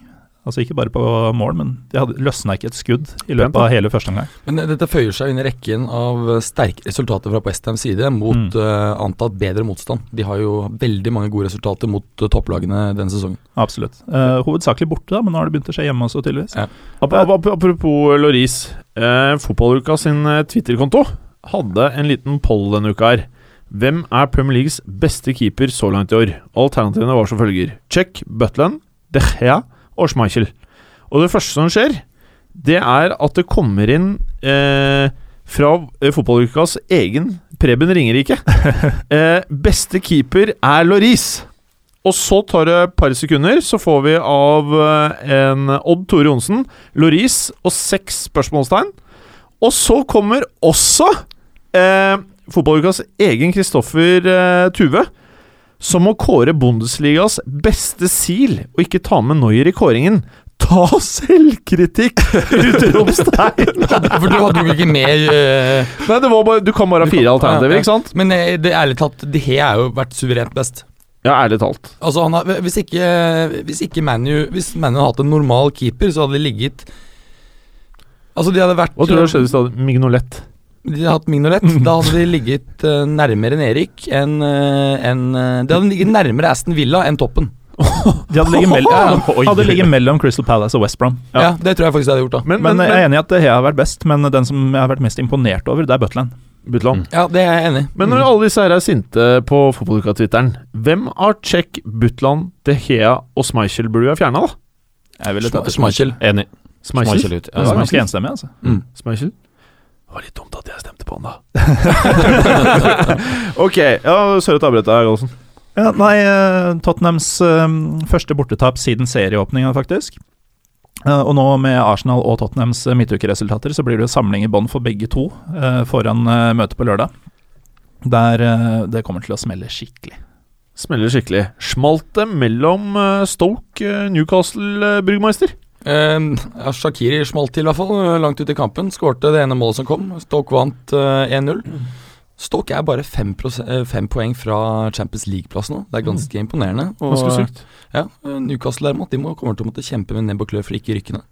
S4: Altså ikke bare på mål, men de hadde løsna ikke et skudd i løpet av hele første omgang.
S5: Men eh, dette føyer seg inn i rekken av eh, sterke resultater fra Westhams side mot
S4: Mm.
S5: eh, antatt bedre motstand. De har jo veldig mange gode resultater mot eh, topplagene denne sesongen.
S4: Absolutt. Eh, hovedsakelig borte, da, men nå har det begynt å skje hjemme også, tydeligvis.
S3: Ap ap ap apropos Loris. Eh, Fotballuka sin eh, Twitter-konto hadde en liten poll denne uka her. Hvem er Premier Leagues beste keeper så langt i år? Alternativene var som følger. Check, Butland, De Gea og Schmeichel. Og det første som skjer, det er at det kommer inn eh, fra eh, fotballukas egen Preben Ringerike. eh, beste keeper er Loris. Og så tar det et par sekunder, så får vi av eh, en Odd Tore Johnsen Loris og seks spørsmålstegn. Og så kommer også eh, fotballukas egen Kristoffer eh, Tuve, som må kåre Bundesligas beste sil og ikke ta med Neuer i kåringen. Ta selvkritikk! Utropstegn!
S5: For du hadde jo ikke med eh,
S3: Nei, det var bare, du kan bare ha fire alternativer, ikke sant?
S5: Men eh, det, ærlig talt, De He er jo vært suverent best.
S3: Ja, ærlig talt.
S5: Altså han har, hvis ikke, hvis ikke Manu Hvis Manu hadde hatt en normal keeper, så hadde de ligget Altså, de hadde vært eh,
S3: Hva tror du skjedde i stedet? Mignolet.
S5: De hadde hatt Mignolet. Da hadde de ligget eh, nærmere enn Erik enn eh, enn, eh, De hadde ligget nærmere Aston Villa enn toppen.
S4: De hadde ligget, mell ja, hadde ligget mellom Crystal Palace og West Brom.
S5: Ja. Det tror jeg faktisk de hadde gjort, da.
S3: Men, eh,
S4: Men, eh, jeg er enig i at det har vært best, men den som jeg har vært mest imponert over, det er Butland.
S3: Butland.
S5: Ja, det er jeg enig i.
S3: Men når alle disse her er sinte på fotballuka-twitteren, hvem av Czech, Butland, De Gea og Schmeichel burde vi ha fjerna, da?
S4: Jeg ville tatt
S5: Schme- Schmeichel.
S2: Enig.
S3: Schmeichel?
S2: Schmeichel ut.
S4: det var ganske enstemmig, altså.
S3: Schmeichel? Det var litt dumt at jeg stemte på han, da. ok. ja, Sorry at jeg avbrøt deg, Gallosen.
S4: Ja, nei, eh, Tottenhams eh, første bortetap siden serieåpninga, faktisk. Eh, Og nå med Arsenal og Tottenhams eh, midtukeresultater, så blir det jo samling i bånn for begge to eh, foran eh, møtet på lørdag. Der eh, det kommer til å smelle skikkelig.
S3: Smeller skikkelig. Smalt det mellom eh, Stoke, eh, Newcastle, eh, Brugmeister?
S5: Ehm, ja, Shakiri smalt til, i hvert fall. eh, Langt ut i kampen. Skårte det ene målet som kom. Stoke vant eh, 1-0. Stoke er bare fem, pros- eh, fem poeng fra Champions League-plass nå. Det er Mm. ganske imponerende. Og,
S3: Ganske sykt.
S5: Ja, eh, Newcastle derimot, de må, kommer til å måtte kjempe med nebb og klør for ikke rykkene.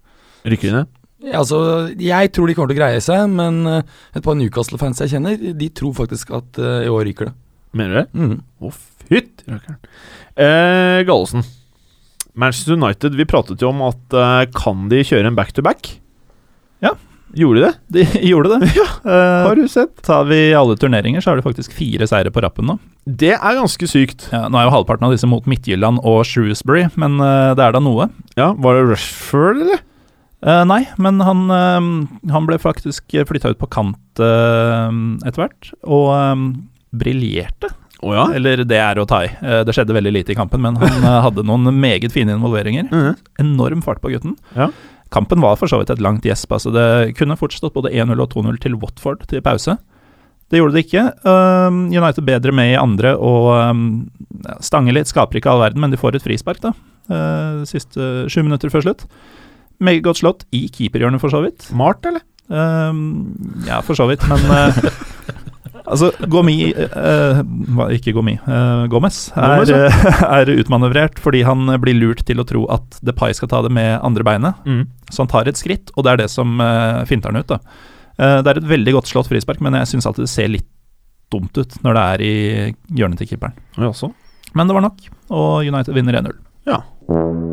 S3: Rykker de ned?
S5: Ja, altså, jeg tror de kommer til å greie seg, men eh, et par Newcastle-fans jeg kjenner, de tror faktisk at eh, i år ryker det.
S3: Mener du det?
S5: Mm.
S3: Å, fytti rakkeren. Eh, Gallesen. Manchester United, vi pratet jo om at eh, kan de kjøre en back-to-back?
S4: Ja.
S3: Gjorde de det?
S4: De gjorde det. Eh,
S3: Har du sett?
S4: tar vi alle turneringer, så er det faktisk fire seire på rappen nå.
S3: Det er ganske sykt.
S4: Ja, nå er jo halvparten av disse mot Midtjylland og Shrewsbury, men eh, det er da noe.
S3: Ja, Var det Rushford, eller?
S4: Eh, nei, men han, eh, han ble faktisk flytta ut på kant eh, etter hvert, og eh, briljerte.
S3: Å ja.
S4: Eller det er å ta i. Eh, det skjedde veldig lite i kampen, men han eh, hadde noen meget fine involveringer.
S3: Mhm.
S4: Enorm fart på gutten.
S3: Ja.
S4: Kampen var for så vidt et langt gjesp. Altså det kunne fort stått både 1-0 og 2-0 til Watford til pause. Det gjorde det ikke. Um, United bedre med i andre og um, ja, stanger litt, skaper ikke all verden, men de får et frispark, da. Uh, siste sju minutter før slutt. Meget godt slått i keeperhjørnet, for så vidt.
S3: Smart, eller?
S4: Um, ja, for så vidt, men eh, Altså, Gomi eh, hva- Ikke Gomi, eh, Gomez er,
S3: Gomez, ja.
S4: eh, er utmanøvrert fordi han eh, blir lurt til å tro at Depay skal ta det med andre beinet.
S3: Mm.
S4: Så han tar et skritt, og det er det som eh, finter han ut. da. Eh, det er et veldig godt slått frispark, men jeg syns alltid det ser litt dumt ut når det er i hjørnet til keeperen.
S3: Ja, så.
S4: Men det var nok, og United vinner 1-0.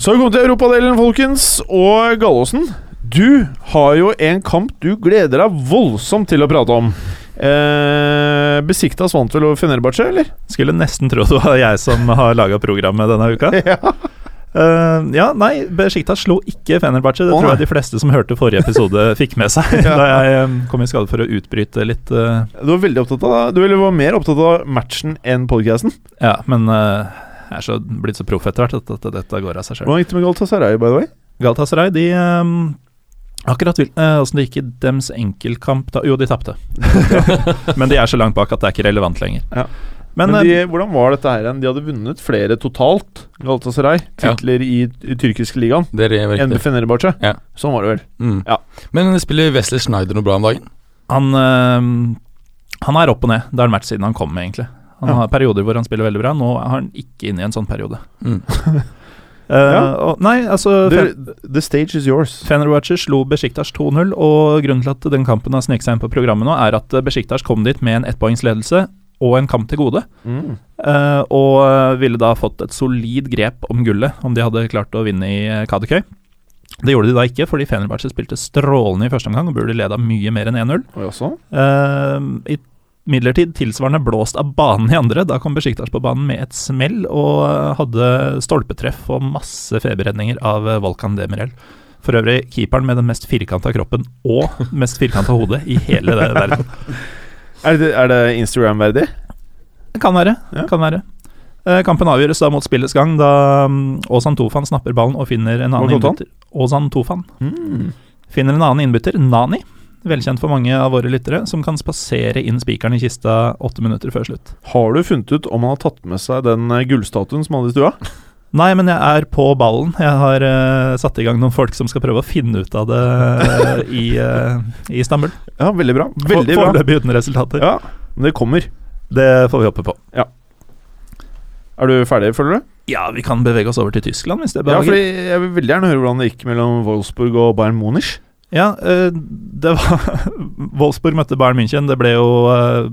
S3: Så har vi kommet til europadelen, folkens. Og Gallosen, du har jo en kamp du gleder deg voldsomt til å prate om. Eh, Besiktas vant vel over Fenerbahçe, eller?
S4: Skulle nesten tro det var jeg som har laga programmet denne uka.
S3: Ja.
S4: Eh, ja, nei, Besjiktas slo ikke Fenerbahçe. Det
S3: Å,
S4: tror
S3: nei.
S4: jeg de fleste som hørte forrige episode, fikk med seg. Da jeg eh, kom i skade for å utbryte litt. eh,
S3: Du var veldig opptatt av Du eller var mer opptatt av matchen enn podcasten.
S4: ja, men eh, jeg er så blitt så proff etter hvert at, at dette går av seg sjøl.
S3: Hvordan gikk det med Galatasaray, by the way?
S4: Galatasaray, de ehm, Akkurat vil- eh, åssen det gikk i dems enkeltkamp da Jo, de tapte. men de er så langt bak at det er ikke relevant lenger.
S3: Ja.
S4: Men,
S3: Men
S4: eh,
S3: de, hvordan var dette her igjen? De hadde vunnet flere totalt, Galatasaray.
S5: Ja.
S3: Titler i, i tyrkiske ligaen
S5: Det er
S3: enn
S5: riktig.
S3: Fenerbahçe.
S5: Ja.
S3: Sånn var det vel.
S5: Mm.
S3: Ja.
S5: Men spiller Wesley Schneider noe bra om dagen?
S4: han, ehm, han er opp og ned. Det har han vært siden han kom, egentlig. Han
S3: Ja.
S4: har perioder hvor han spiller veldig bra. Nå er han ikke inne i en sånn periode.
S5: Mm.
S4: Eh, og, nei, altså
S3: The,
S4: Fen-
S3: the stage is yours.
S4: Fenerbahçe slo Besjiktas 2-0, og grunnen til at den kampen har sneket seg inn på programmet nå, er at eh, Besjiktas kom dit med en ettpoengsledelse og en kamp til gode,
S3: Mm.
S4: eh, og eh, ville da fått et solid grep om gullet om de hadde klart å vinne i eh, Kadikøy. Det gjorde de da ikke, fordi Fenerbahçe spilte strålende i første omgang og burde leda mye mer enn 1-0.
S3: Og jeg også.
S4: Eh, I midlertid tilsvarende blåst av banen i andre. Da kom Besjiktas på banen med et smell og eh, hadde stolpetreff og masse feberredninger av eh, Volkan Demirel. For øvrig keeperen med den mest firkanta kroppen og mest firkanta hodet i hele det verden.
S3: Er det, er det Instagram-verdig?
S4: Det Kan være.
S3: Ja.
S4: Kan være. Eh, Kampen avgjøres da mot spillets gang, da mm, Ozan Tofan snapper ballen og finner en annen
S3: Hva kalte han?
S4: innbytter. Ozan Tofan.
S3: Mm.
S4: finner en annen innbytter, Nani, velkjent for mange av våre lyttere, som kan spasere inn spikeren i kista åtte minutter før slutt.
S3: Har du funnet ut om han har tatt med seg den eh, gullstatuen som han hadde i stua?
S4: Nei, men jeg er på ballen. Jeg har eh, satt i gang noen folk som skal prøve å finne ut av det eh, i, eh, i Istanbul.
S3: Ja, veldig bra. Veldig
S4: For-
S3: bra.
S4: Foreløpig uten resultater.
S3: Ja, men det kommer.
S4: Det får vi håpe på.
S3: Er du ferdig, føler du?
S4: Ja, vi kan bevege oss over til Tyskland, hvis det
S3: Ja,
S4: behager.
S3: fordi jeg vil veldig gjerne høre hvordan det gikk mellom Wolfsburg og Bayern Munich.
S4: Ja, eh, det var Wolfsburg møtte Bayern München. Det ble jo eh,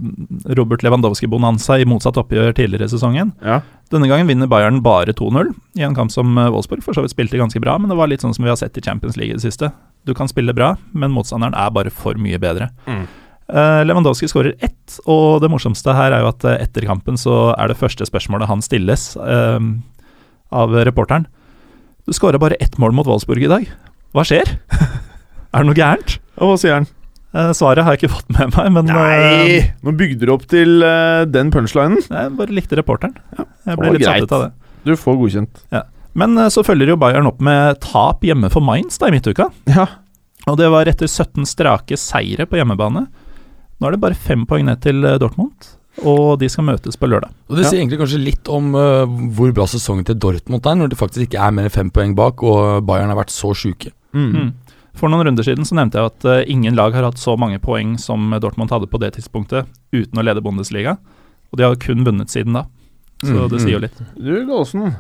S4: Robert Lewandowski-bonanza i motsatt oppgjør tidligere i sesongen.
S3: Ja.
S4: Denne gangen vinner Bayern bare 2-0 i en kamp som eh, Wolfsburg for så vidt spilte ganske bra, men det var litt sånn som vi har sett i Champions League i det siste. Du kan spille bra, men motstanderen er bare for mye bedre.
S3: Mm.
S4: Eh, Lewandowski skårer ett, og det morsomste her er jo at eh, etter kampen så er det første spørsmålet han stilles eh, av reporteren. Du skåra bare ett mål mot Wolfsburg i dag. Hva skjer? er det noe gærent?
S3: Og hva sier han?
S4: Eh, svaret har jeg ikke fått med meg, men eh,
S3: Nei! Nå bygde du opp til eh, den punchlinen.
S4: jeg bare likte reporteren. jeg
S3: det var
S4: ble litt
S3: greit.
S4: satt ut av det.
S3: Du får godkjent.
S4: Men eh, så følger jo Bayern opp med tap hjemme for Mainz da i midtuka.
S3: Ja.
S4: Og det var etter 17 strake seire på hjemmebane. Nå er det bare fem poeng ned til eh, Dortmund, og de skal møtes på lørdag.
S5: Og Det
S3: Ja.
S5: sier egentlig kanskje litt om eh, hvor bra sesongen til Dortmund er, når de faktisk ikke er mer enn fem poeng bak, og Bayern har vært så sjuke.
S3: Mm.
S4: Mm. For noen runder siden så nevnte jeg at eh, ingen lag har hatt så mange poeng som eh, Dortmund hadde på det tidspunktet, uten å lede Bundesliga. Og de har kun vunnet siden da, så
S5: Mm,
S4: det
S5: mm.
S4: sier jo litt.
S3: Du, Gallosen.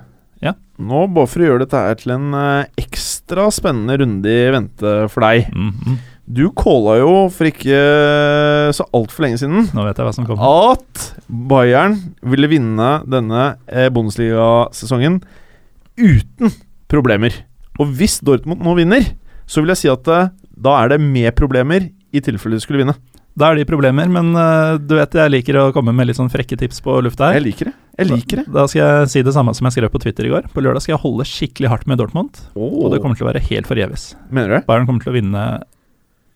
S4: Ja.
S3: Nå, bare for å gjøre dette her til en eh, ekstra spennende runde i vente for deg
S4: Mm, mm.
S3: Du calla jo for ikke så altfor lenge siden
S4: Nå vet jeg hva som kommer.
S3: at Bayern ville vinne denne eh, Bundesliga-sesongen uten problemer. Og hvis Dortmund nå vinner, så vil jeg si at eh, da er det med problemer, i tilfelle de skulle vinne.
S4: Da er de problemer, men eh, du vet jeg liker å komme med litt sånn frekke tips på lufta
S3: Jeg
S4: her.
S3: liker det. Jeg liker det.
S4: Da skal jeg si det samme som jeg skrev på Twitter i går. På lørdag skal jeg holde skikkelig hardt med Dortmund, og det kommer til å være helt forgjeves.
S3: Mener du det?
S4: Bayern kommer til å vinne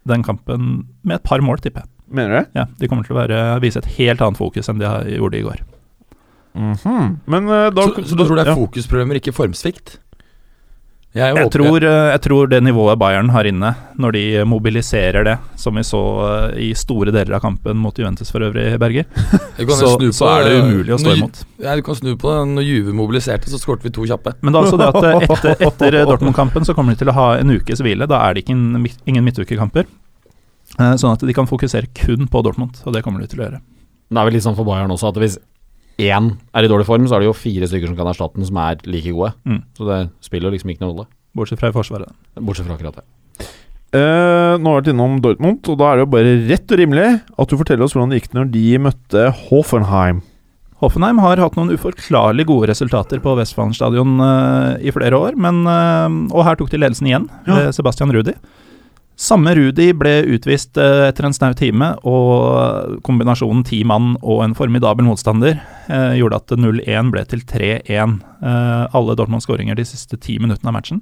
S4: den kampen med et par mål, tipper jeg.
S3: Mener du det?
S4: Ja, de kommer til å være, vise et helt annet fokus enn de har- gjorde i går.
S3: Mhm. Men eh, da
S5: Så, så du tror det er
S3: ja.
S5: fokusproblemer, ikke formsvikt? Jeg,
S4: Jeg
S5: håper-
S4: tror, eh, jeg tror det nivået Bayern har inne, når de mobiliserer det, som vi så eh, i store deler av kampen mot Juventus for øvrig, Berger,
S5: Du kan jo
S4: så,
S5: snu på-
S4: så er det umulig å stå
S5: når-
S4: imot.
S5: Ja, du kan snu på det. Når Juve mobiliserte, så skårte vi to kjappe.
S4: Men det er også det at eh, etter, etter Dortmund-kampen så kommer de til å ha en ukes hvile. Da er det ikke en, mid- ingen midtukekamper. Eh, Sånn at de kan fokusere kun på Dortmund, og det kommer de til å gjøre.
S2: Det er vel litt sånn for Bayern også at hvis én er i dårlig form, så er det jo fire stykker som kan erstatte den, som er like gode.
S4: Mm.
S2: Så det spiller jo liksom ikke noen rolle.
S4: Bortsett fra i Forsvaret.
S2: Bortsett fra akkurat det.
S3: Eh, nå har vi vært innom Dortmund, og da er det jo bare rett og rimelig at du forteller oss hvordan det gikk når de møtte Hoffenheim.
S4: Hoffenheim har hatt noen uforklarlig gode resultater på Westfalen stadion eh, i flere år, men, eh, og her tok de ledelsen igjen,
S3: Ja.
S4: ved Sebastian Rudi. Samme Rudi ble utvist eh, etter en snau time, og kombinasjonen ti mann og en formidabel motstander eh, gjorde at 0-1 ble til 3-1. Eh, alle Dortmunds skåringer de siste ti minuttene av matchen.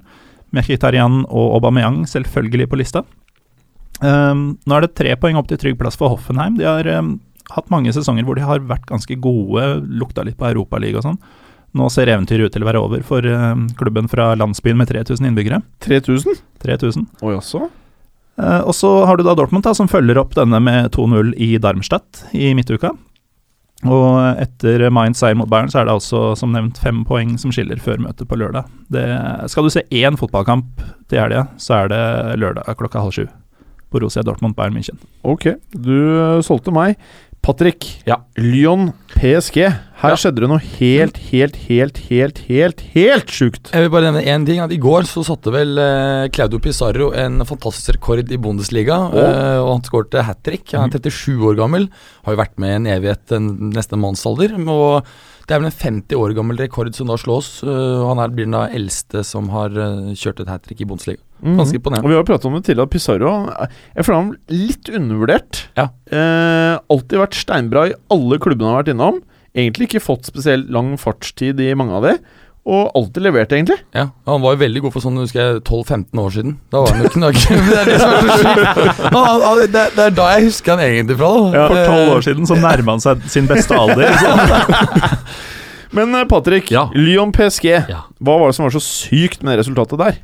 S4: Mkhitarian og Aubameyang selvfølgelig på lista. Eh, nå er det tre poeng opp til trygg plass for Hoffenheim. De har eh, hatt mange sesonger hvor de har vært ganske gode, lukta litt på Europaligaen og sånn. Nå ser eventyret ut til å være over for eh, klubben fra landsbyen med 3000 innbyggere.
S3: 3000?
S4: 3000.
S3: Oi, jaså?
S4: Eh, og så har du da Dortmund, da, som følger opp denne med 2-0 i Darmstadt i midtuka. Og etter Mainz seier mot Bayern, så er det altså som nevnt fem poeng som skiller før møtet på lørdag. Det, skal du se én fotballkamp til helga, så er det lørdag klokka halv sju. Borussia Dortmund-Bayern München.
S3: Ok, du eh, solgte meg. Patrick,
S2: Ja.
S3: Lyon PSG. Her
S5: Ja.
S3: skjedde det noe helt, helt, helt, helt, helt, helt sjukt.
S5: Jeg vil bare nevne én ting. at I går så satte vel eh, Claudio Pizarro en fantastisk rekord i Bundesliga. eh, og han skårte hat trick. Han er 37 år gammel. Har jo vært med i en evighet, en, nesten en mannsalder. Og det er vel en 50 år gammel rekord som da slås. eh, og han er, blir den da eldste som har eh, kjørt et hat trick i Bundesliga.
S3: Mhm.
S5: Ganske imponerende.
S3: Og vi har jo pratet om det tidligere, at Pizarro han- Jeg føler han litt undervurdert.
S5: Ja.
S3: Eh, alltid vært steinbra i alle klubbene han har vært innom. Egentlig ikke fått spesielt lang fartstid i mange av de, og alltid levert, egentlig.
S5: Ja, og Han var jo veldig god for sånn husker jeg, 12-15 år siden. Da var han jo knaggen. det, er det, som er så sykt. Han- han- det, er- det er da jeg husker han egentlig fra. da Eh,
S4: For tolv år siden så nærma han seg sin beste alder.
S3: Men eh, Patrick,
S2: Ja.
S3: Lyon PSG.
S2: Ja.
S3: Hva var det som var så sykt med det resultatet der?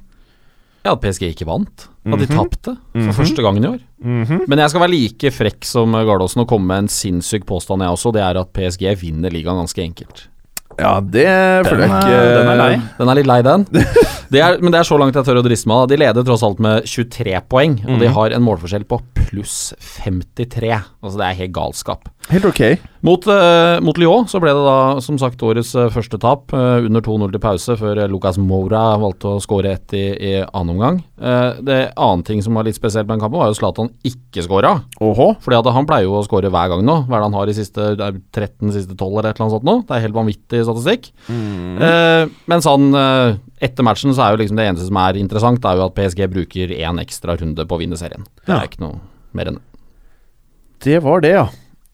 S2: Ja, at PSG ikke vant. At de
S3: Mhm.
S2: tapte for
S3: Mhm.
S2: første gangen i år. Men jeg skal være like frekk som Gardaasen og komme med en sinnssyk påstand, jeg også. Det er at PSG vinner ligaen ganske enkelt.
S3: Ja, det føler jeg
S4: Den er-
S3: ikke
S4: eh, den er lei.
S2: Den er litt lei, den. Det er, men det er så langt jeg tør å driste meg. da. De leder tross alt med 23 poeng, og de
S3: Mhm.
S2: har en målforskjell på pluss 53. Altså, det er helt galskap.
S3: Helt ok.
S2: Mot, eh, mot Lyon så ble det da som sagt årets eh, første tap, eh, under 2-0 til pause, før eh, Lucas Moura valgte å skåre ett i, i annen omgang. Eh, det annen ting som var litt spesielt med den kampen, var jo Zlatan ikke skåra.
S3: Åhå.
S2: Fordi at han pleier jo å skåre hver gang nå. Hva er det han har i siste det er 13, siste 12 eller et eller annet sånt nå? Det er helt vanvittig statistikk. Eh, mens han eh, etter matchen så er jo liksom det eneste som er interessant, er jo at PSG bruker én ekstra runde på å vinne serien. Det
S3: Ja.
S2: er ikke noe mer enn det.
S3: Det var det, ja.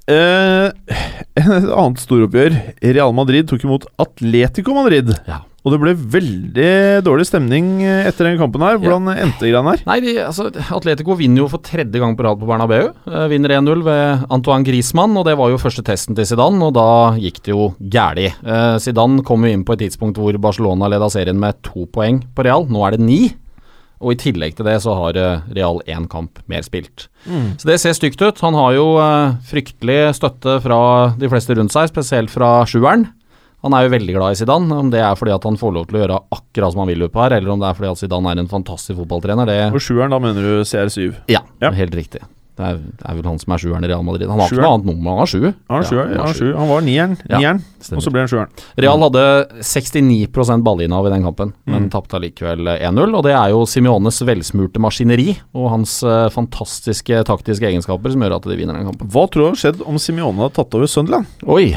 S3: Eh, et annet storoppgjør. Real Madrid tok imot Atletico Madrid.
S2: Ja.
S3: Og det ble veldig dårlig stemning eh, etter den kampen her. Hvordan endte greiene her?
S2: Nei, de, altså, Atletico vinner jo for tredje gang på rad på Bernabeu. Eh, vinner 1-0 ved Antoine Griezmann, og det var jo første testen til Zidane, og da gikk det jo gæli. Eh, Zidane kom jo inn på et tidspunkt hvor Barcelona leda serien med to poeng på Real. Nå er det ni, og i tillegg til det så har eh, Real én kamp mer spilt. Så det ser stygt ut. Han har jo eh, fryktelig støtte fra de fleste rundt seg, spesielt fra sjueren. Han er jo veldig glad i Zidane. Om det er fordi at han får lov til å gjøre akkurat som han vil oppe her, eller om det er fordi at Zidane er en fantastisk fotballtrener, det
S3: Og sjueren, da mener du CR7.
S2: ja,
S3: Ja.
S2: helt riktig. Det er, det er vel han som er sjueren i Real Madrid. Han har ikke
S3: Sjueren?
S2: noe annet nummer, han har sju.
S3: Han var
S2: Ja,
S3: sjuer,
S2: han
S3: han,
S2: var
S3: var sjuer. han var nieren,
S2: Ja.
S3: nieren og så
S2: Stemmer.
S3: ble han sjueren.
S2: Real hadde 69 ballinnehav i den kampen, men tapte allikevel 1-0. Og det er jo Simeones velsmurte maskineri og hans eh, fantastiske taktiske egenskaper som gjør at de vinner den kampen.
S3: Hva tror du hadde skjedd om Simione hadde tatt over Sunderland?
S2: Oi!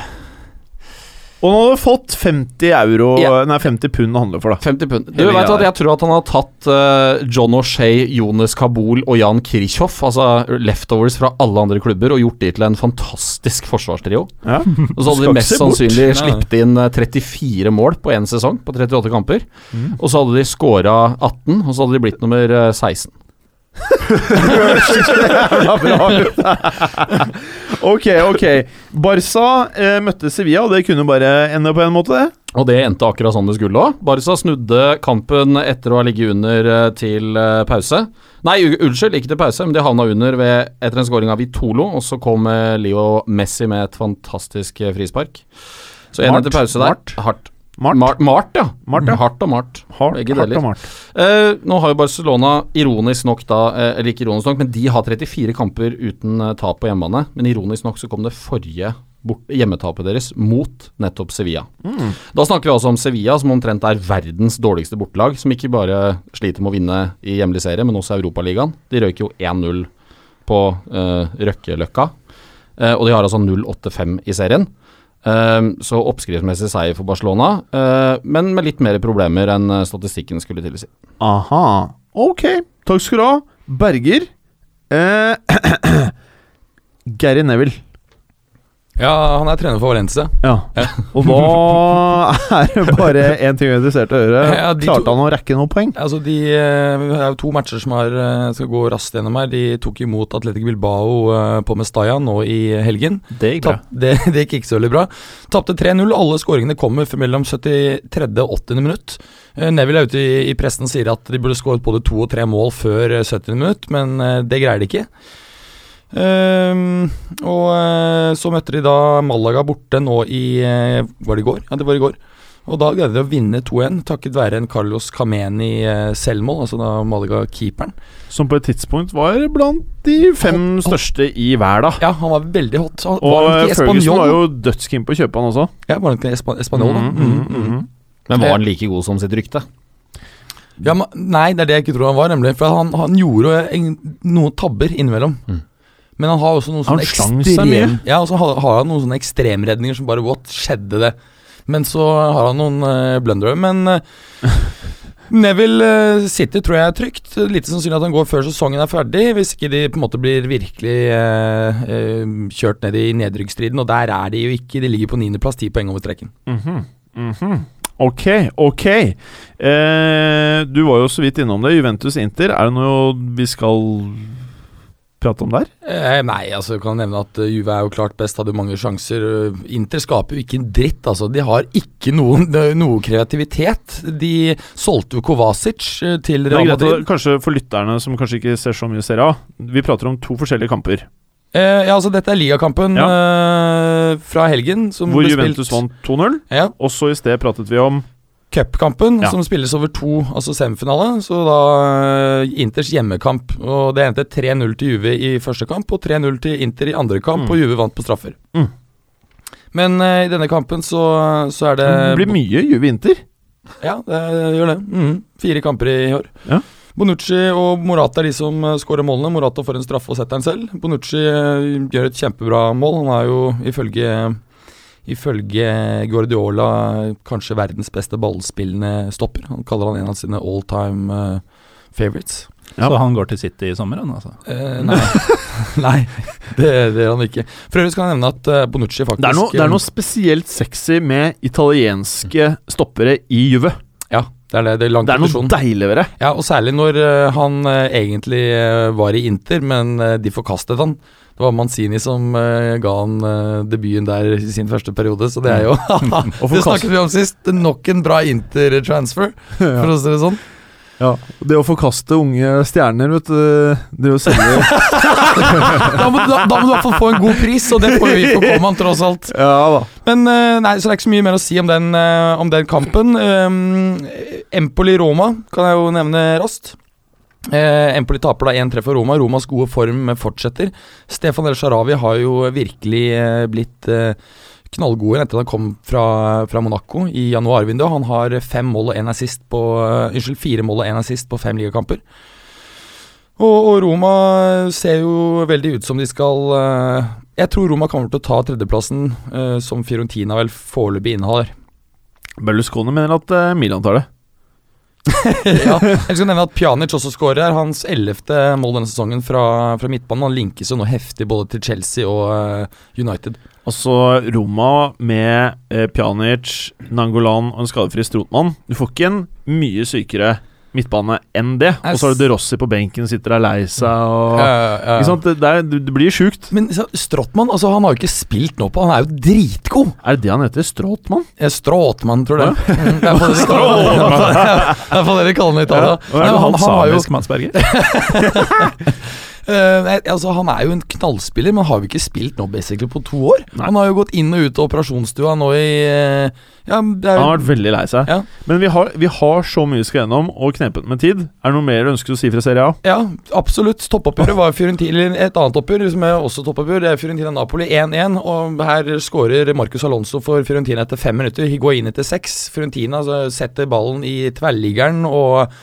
S3: Og han hadde fått 50 euro
S2: Ja.
S3: Nei, 50 pund å handle for, da.
S2: 50 pund. Du
S3: Hele
S2: vet
S3: greia
S2: at Jeg tror at han har tatt eh, John O'Shay, Jonas Kabul og Jan Kirchhoff, altså leftovers fra alle andre klubber, og gjort de til en fantastisk forsvarstrio.
S3: Ja.
S2: Og så hadde
S3: Skal
S2: de
S3: ikke
S2: mest
S3: se bort.
S2: sannsynlig
S5: Nei.
S2: sluppet inn eh, 34 mål på én sesong, på 38 kamper.
S3: Mm.
S2: Og så hadde de scora 18, og så hadde de blitt nummer eh, 16.
S3: Ja, bra. ok, ok. Barca eh, møtte Sevilla, og det kunne bare ende på en måte, det.
S2: Og det endte akkurat sånn det skulle òg. Barca snudde kampen etter å ha ligget under eh, til eh, pause. Nei, u- unnskyld, ikke til pause, men de havna under ved, etter en scoring av Vitolo, og så kom eh, Leo Messi med et fantastisk eh, frispark. Så én
S3: Mart,
S2: etter pause der.
S3: Mart.
S2: Hardt.
S3: Mart.
S2: Mart, Mart, ja.
S3: Mart, ja.
S2: Hardt og Mart.
S3: Hardt,
S2: Begge
S3: hardt
S2: deler.
S3: og mart.
S2: Eh, nå har jo Barcelona ironisk nok da eh, Eller ikke ironisk nok, men de har 34 kamper uten eh, tap på hjemmebane. Men ironisk nok så kom det forrige bort, hjemmetapet deres mot nettopp Sevilla. Da snakker vi altså om Sevilla, som omtrent er verdens dårligste bortelag. Som ikke bare sliter med å vinne i hjemlig serie, men også Europaligaen. De røyk jo 1-0 på eh, Røkkeløkka. Eh, og de har altså 0-8-5 i serien. Eh, så oppskriftsmessig seier for Barcelona, eh, men med litt mer problemer enn eh, statistikken skulle tilsi.
S3: Aha. Ok, takk skal du ha. Berger. Eh, Gary Neville.
S5: Ja, han er trener for Valencia.
S3: Ja. Og da er det bare én ting jeg er interessert i å høre.
S5: Ja, de
S3: Klarte
S5: to-
S3: han å rekke noen poeng?
S5: Altså, de eh, Det er jo to matcher som er, eh, skal gå raskt gjennom her. De tok imot Atletic Bilbao eh, på Mestalla nå i helgen.
S4: Det gikk bra.
S5: Tapp- det, det gikk ikke så veldig bra. Tapte 3-0. Alle skåringene kommer fra mellom 73. og 80. minutt. Eh, Neville er ute i, i pressen og sier at de burde skåret både to og tre mål før eh, 70. minutt, men eh, det greier de ikke. Ehm, og eh, så møtte de da Malaga borte nå i eh, Var det i går? Ja, det var i går. Og da greide de å vinne 2-1 takket være en Carlos Cameni eh, selvmål, altså da Malaga-keeperen.
S3: Som på et tidspunkt var blant de fem største i verden.
S5: Ja, han var veldig hot. Han,
S3: Og
S5: var han
S3: eh,
S5: ikke
S3: Ferguson
S5: espanjol?
S3: var jo dødskeen på å kjøpe han også.
S5: Ja, var han ikke espa- espanjol, da? Mm,
S3: Mhm, mhm, mhm.
S2: Men var han like god som sitt rykte?
S5: Ja, men, nei, det er det jeg ikke tror han var, nemlig. For han, han gjorde jo en, noen tabber innimellom. Men han har også noen
S3: Mm. Han
S5: sånne
S3: slang seg mye.
S5: Ja, og så har, har han noen sånne ekstremredninger som bare What? Skjedde det? Men så har han noen uh, blundere. Men eh, Neville eh, sitter, tror jeg, er trygt. Lite sannsynlig at han går før sesongen er ferdig, hvis ikke de på en måte blir virkelig eh, eh, kjørt ned i nedrykksstriden. Og der er de jo ikke. De ligger på niendeplass, ti poeng over streken.
S3: Mhm, mhm. Ok, ok. Eh, du var jo så vidt innom det. Juventus-Inter, er det noe vi skal prate om der?
S5: Eh, nei, altså jeg kan nevne at eh, Juve er jo klart best, hadde jo mange sjanser. Eh, Inter skaper jo ikke en dritt, altså. De har ikke noen, eh, noe kreativitet. De solgte jo Kovacic eh, til
S3: Det er
S5: Real
S3: greit å,
S5: Madrid.
S3: kanskje for lytterne som kanskje ikke ser så mye Serie A. Vi prater om to forskjellige kamper,
S5: Eh, ja, altså dette er ligakampen eh, fra helgen. Som
S3: hvor
S5: ble
S3: Juventus
S5: spilt.
S3: vant 2-0.
S5: Ja,
S3: Og så i sted pratet vi om
S5: Cupkampen,
S3: Ja.
S5: som spilles over to, altså semifinale. Så da eh, Inters hjemmekamp. Og det endte 3-0 til Juve i første kamp, og 3-0 til Inter i andre kamp,
S3: Mm.
S5: og Juve vant på straffer.
S3: Mm.
S5: Men eh, i denne kampen så, så er det
S3: Det blir mye Juve-Inter.
S5: Ja, det gjør det. Mm. Fire kamper i år.
S3: Ja.
S5: Bonucci og Morata er de som eh, skårer målene. Morata får en straffe og setter den selv. Bonucci eh, gjør et kjempebra mål. Han er jo ifølge, ifølge Guardiola kanskje verdens beste ballspillende stopper. Han kaller han en av sine all time favorites.
S3: Ja.
S4: Så han går til City i sommer, han altså.
S5: Eh, nei, nei det, det gjør han ikke. For øvrig skal jeg nevne at eh, Bonucci faktisk
S3: Det er, noe, det er noe spesielt sexy med italienske stoppere i Juve.
S5: Ja, det er det. Det er lang
S3: Det er noe
S5: tradisjon.
S3: deilig ved det.
S5: Ja, og særlig når eh, han eh, egentlig eh, var i Inter, men eh, de forkastet han. Det var Manzini som eh, ga han eh, debuten der i sin første periode, så det er jo Det snakket vi om sist. Nok en bra Inter-transfer, for å si det sånn.
S3: Ja, Det å forkaste unge stjerner, vet du Det å selge
S5: Da må, da, da må du i hvert fall få en god pris, og det får vi på Coman, tross alt.
S3: Ja da.
S5: Men eh, nei, så det er ikke så mye mer å si om den, eh, om den kampen. Um, Empoli-Roma kan jeg jo nevne raskt. Eh, Empoli taper da 1-3 for Roma. Romas gode form fortsetter. Stefan El Sharawi har jo virkelig eh, blitt eh, knallgod igjen etter at han kom fra, fra Monaco i januarvinduet. Han har fem mål og en assist på eh, Unnskyld, fire mål og en assist på fem ligakamper. Og, og Roma ser jo veldig ut som de skal eh, Jeg tror Roma kommer til å ta tredjeplassen, eh, som Fiorentina vel foreløpig innehar.
S3: Berlusconi mener at eh, Milan tar det.
S5: ja, jeg skal nevne at Pjanic også skårer her. Hans ellevte mål denne sesongen fra, fra midtbanen. Han linkes jo nå heftig både til Chelsea og eh, United.
S3: Altså Roma med eh, Pjanic, Nangolan og en skadefri Strotmann. Du får ikke en mye sykere midtbane enn det.
S5: Jeg
S3: Og så har du
S5: s-
S3: De Rossi på benken, sitter der lei seg og
S5: Eh, eh,
S3: Ikke sant? Det, det, er, det- det blir sjukt.
S5: Men så- Strottmann altså, han har jo ikke spilt nå på Han er jo dritgod!
S3: Er det det han heter? Strotmann?
S5: Eh, Stråtmann, tror jeg. Mm, Det er på det de kaller
S4: Stråtmann.
S5: det er på det de kaller han i Italia.
S4: Er
S5: Nei,
S4: du
S5: men
S4: halvt
S5: har jo-
S4: samisk, Mads Berger?
S5: Eh, nei, altså, han er jo en knallspiller, men har jo ikke spilt nå basically på to år.
S3: Nei.
S5: Han har jo gått inn og ut av operasjonsstua nå i eh, ja, det er,
S3: Han har vært veldig lei seg.
S5: Ja.
S3: Men vi har, vi har så mye vi skal gjennom, og knepent med tid. Er det noe mer du ønsker å si fra Serie A?
S5: ja, absolutt. Toppoppgjøret var Fiorentina et annet oppgjør, som er også toppoppgjør. Det er Fiorentina-Napoli 1-1, og her skårer Marcus Alonso for Fiorentina etter fem minutter. Higuain etter seks. Fiorentina altså, setter ballen i tverrliggeren og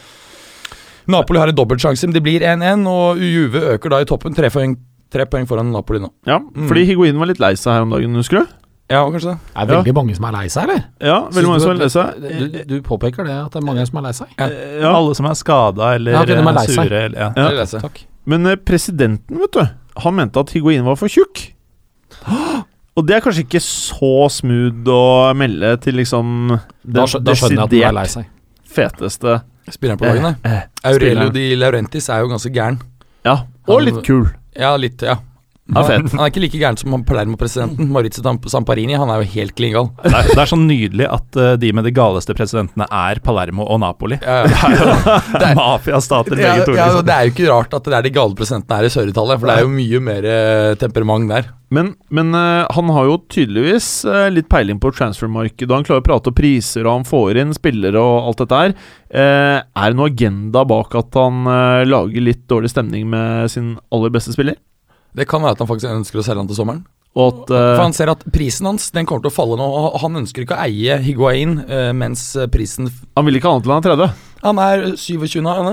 S5: Napoli har en dobbeltsjanse, men det blir 1-1, og Juve øker da i toppen. Tre poeng, tre poeng foran Napoli nå.
S3: Ja, fordi Higuin var litt lei seg her om dagen, husker du?
S5: Ja, kanskje det.
S2: Det er veldig mange som er lei seg, eller?
S3: Ja, veldig mange som var lei seg.
S2: Du, du påpeker det, at det er mange som er lei seg.
S3: Eh, Ja,
S4: Alle som er skada eller
S2: Ja, ok, de er
S4: eh,
S2: lei seg.
S4: sure. Eller, ja.
S3: Ja.
S5: Det leser jeg.
S3: Men eh, presidenten, vet du, han mente at Higuin var for tjukk. Og det er kanskje ikke så smooth å melde til liksom
S2: Da,
S3: den
S2: skjø- da skjønner jeg at den er lei
S3: desidert
S2: seg.
S3: feteste
S5: Spilleren på lagene?
S3: Eh, eh,
S5: Aurelio
S3: spilleren.
S5: Di Laurentis er jo ganske gæren.
S3: Ja, og litt kul.
S5: Ja, litt, ja.
S3: Ja, fet.
S5: Han er ikke like gæren som han Palermo-presidenten, Maurizio Tamp- Samparini. Han er jo helt klin gal.
S4: Det, er, det er så nydelig at eh, de med de galeste presidentene er Palermo og Napoli.
S5: Ja, ja.
S4: Mafiastater
S5: Ja,
S4: begge to.
S5: ja, og
S4: Liksom.
S5: det er jo ikke rart at det er de gale presidentene her i Sør-Italia, for det er jo mye mer eh, temperament der.
S3: Men, men eh, han har jo tydeligvis eh, litt peiling på transfermarkedet, og han klarer å prate om priser, og han får inn spillere og alt dette her. Eh, er det noe agenda bak at han eh, lager litt dårlig stemning med sin aller beste spiller?
S5: Det kan være at han faktisk ønsker å selge han til sommeren.
S3: Og at
S5: For
S3: eh,
S5: han ser at prisen hans den kommer til å falle nå, og han ønsker ikke å eie Higuain eh, mens eh, prisen f-
S3: han vil ikke annet enn han er 30?
S5: Han er 27 nå, Anne.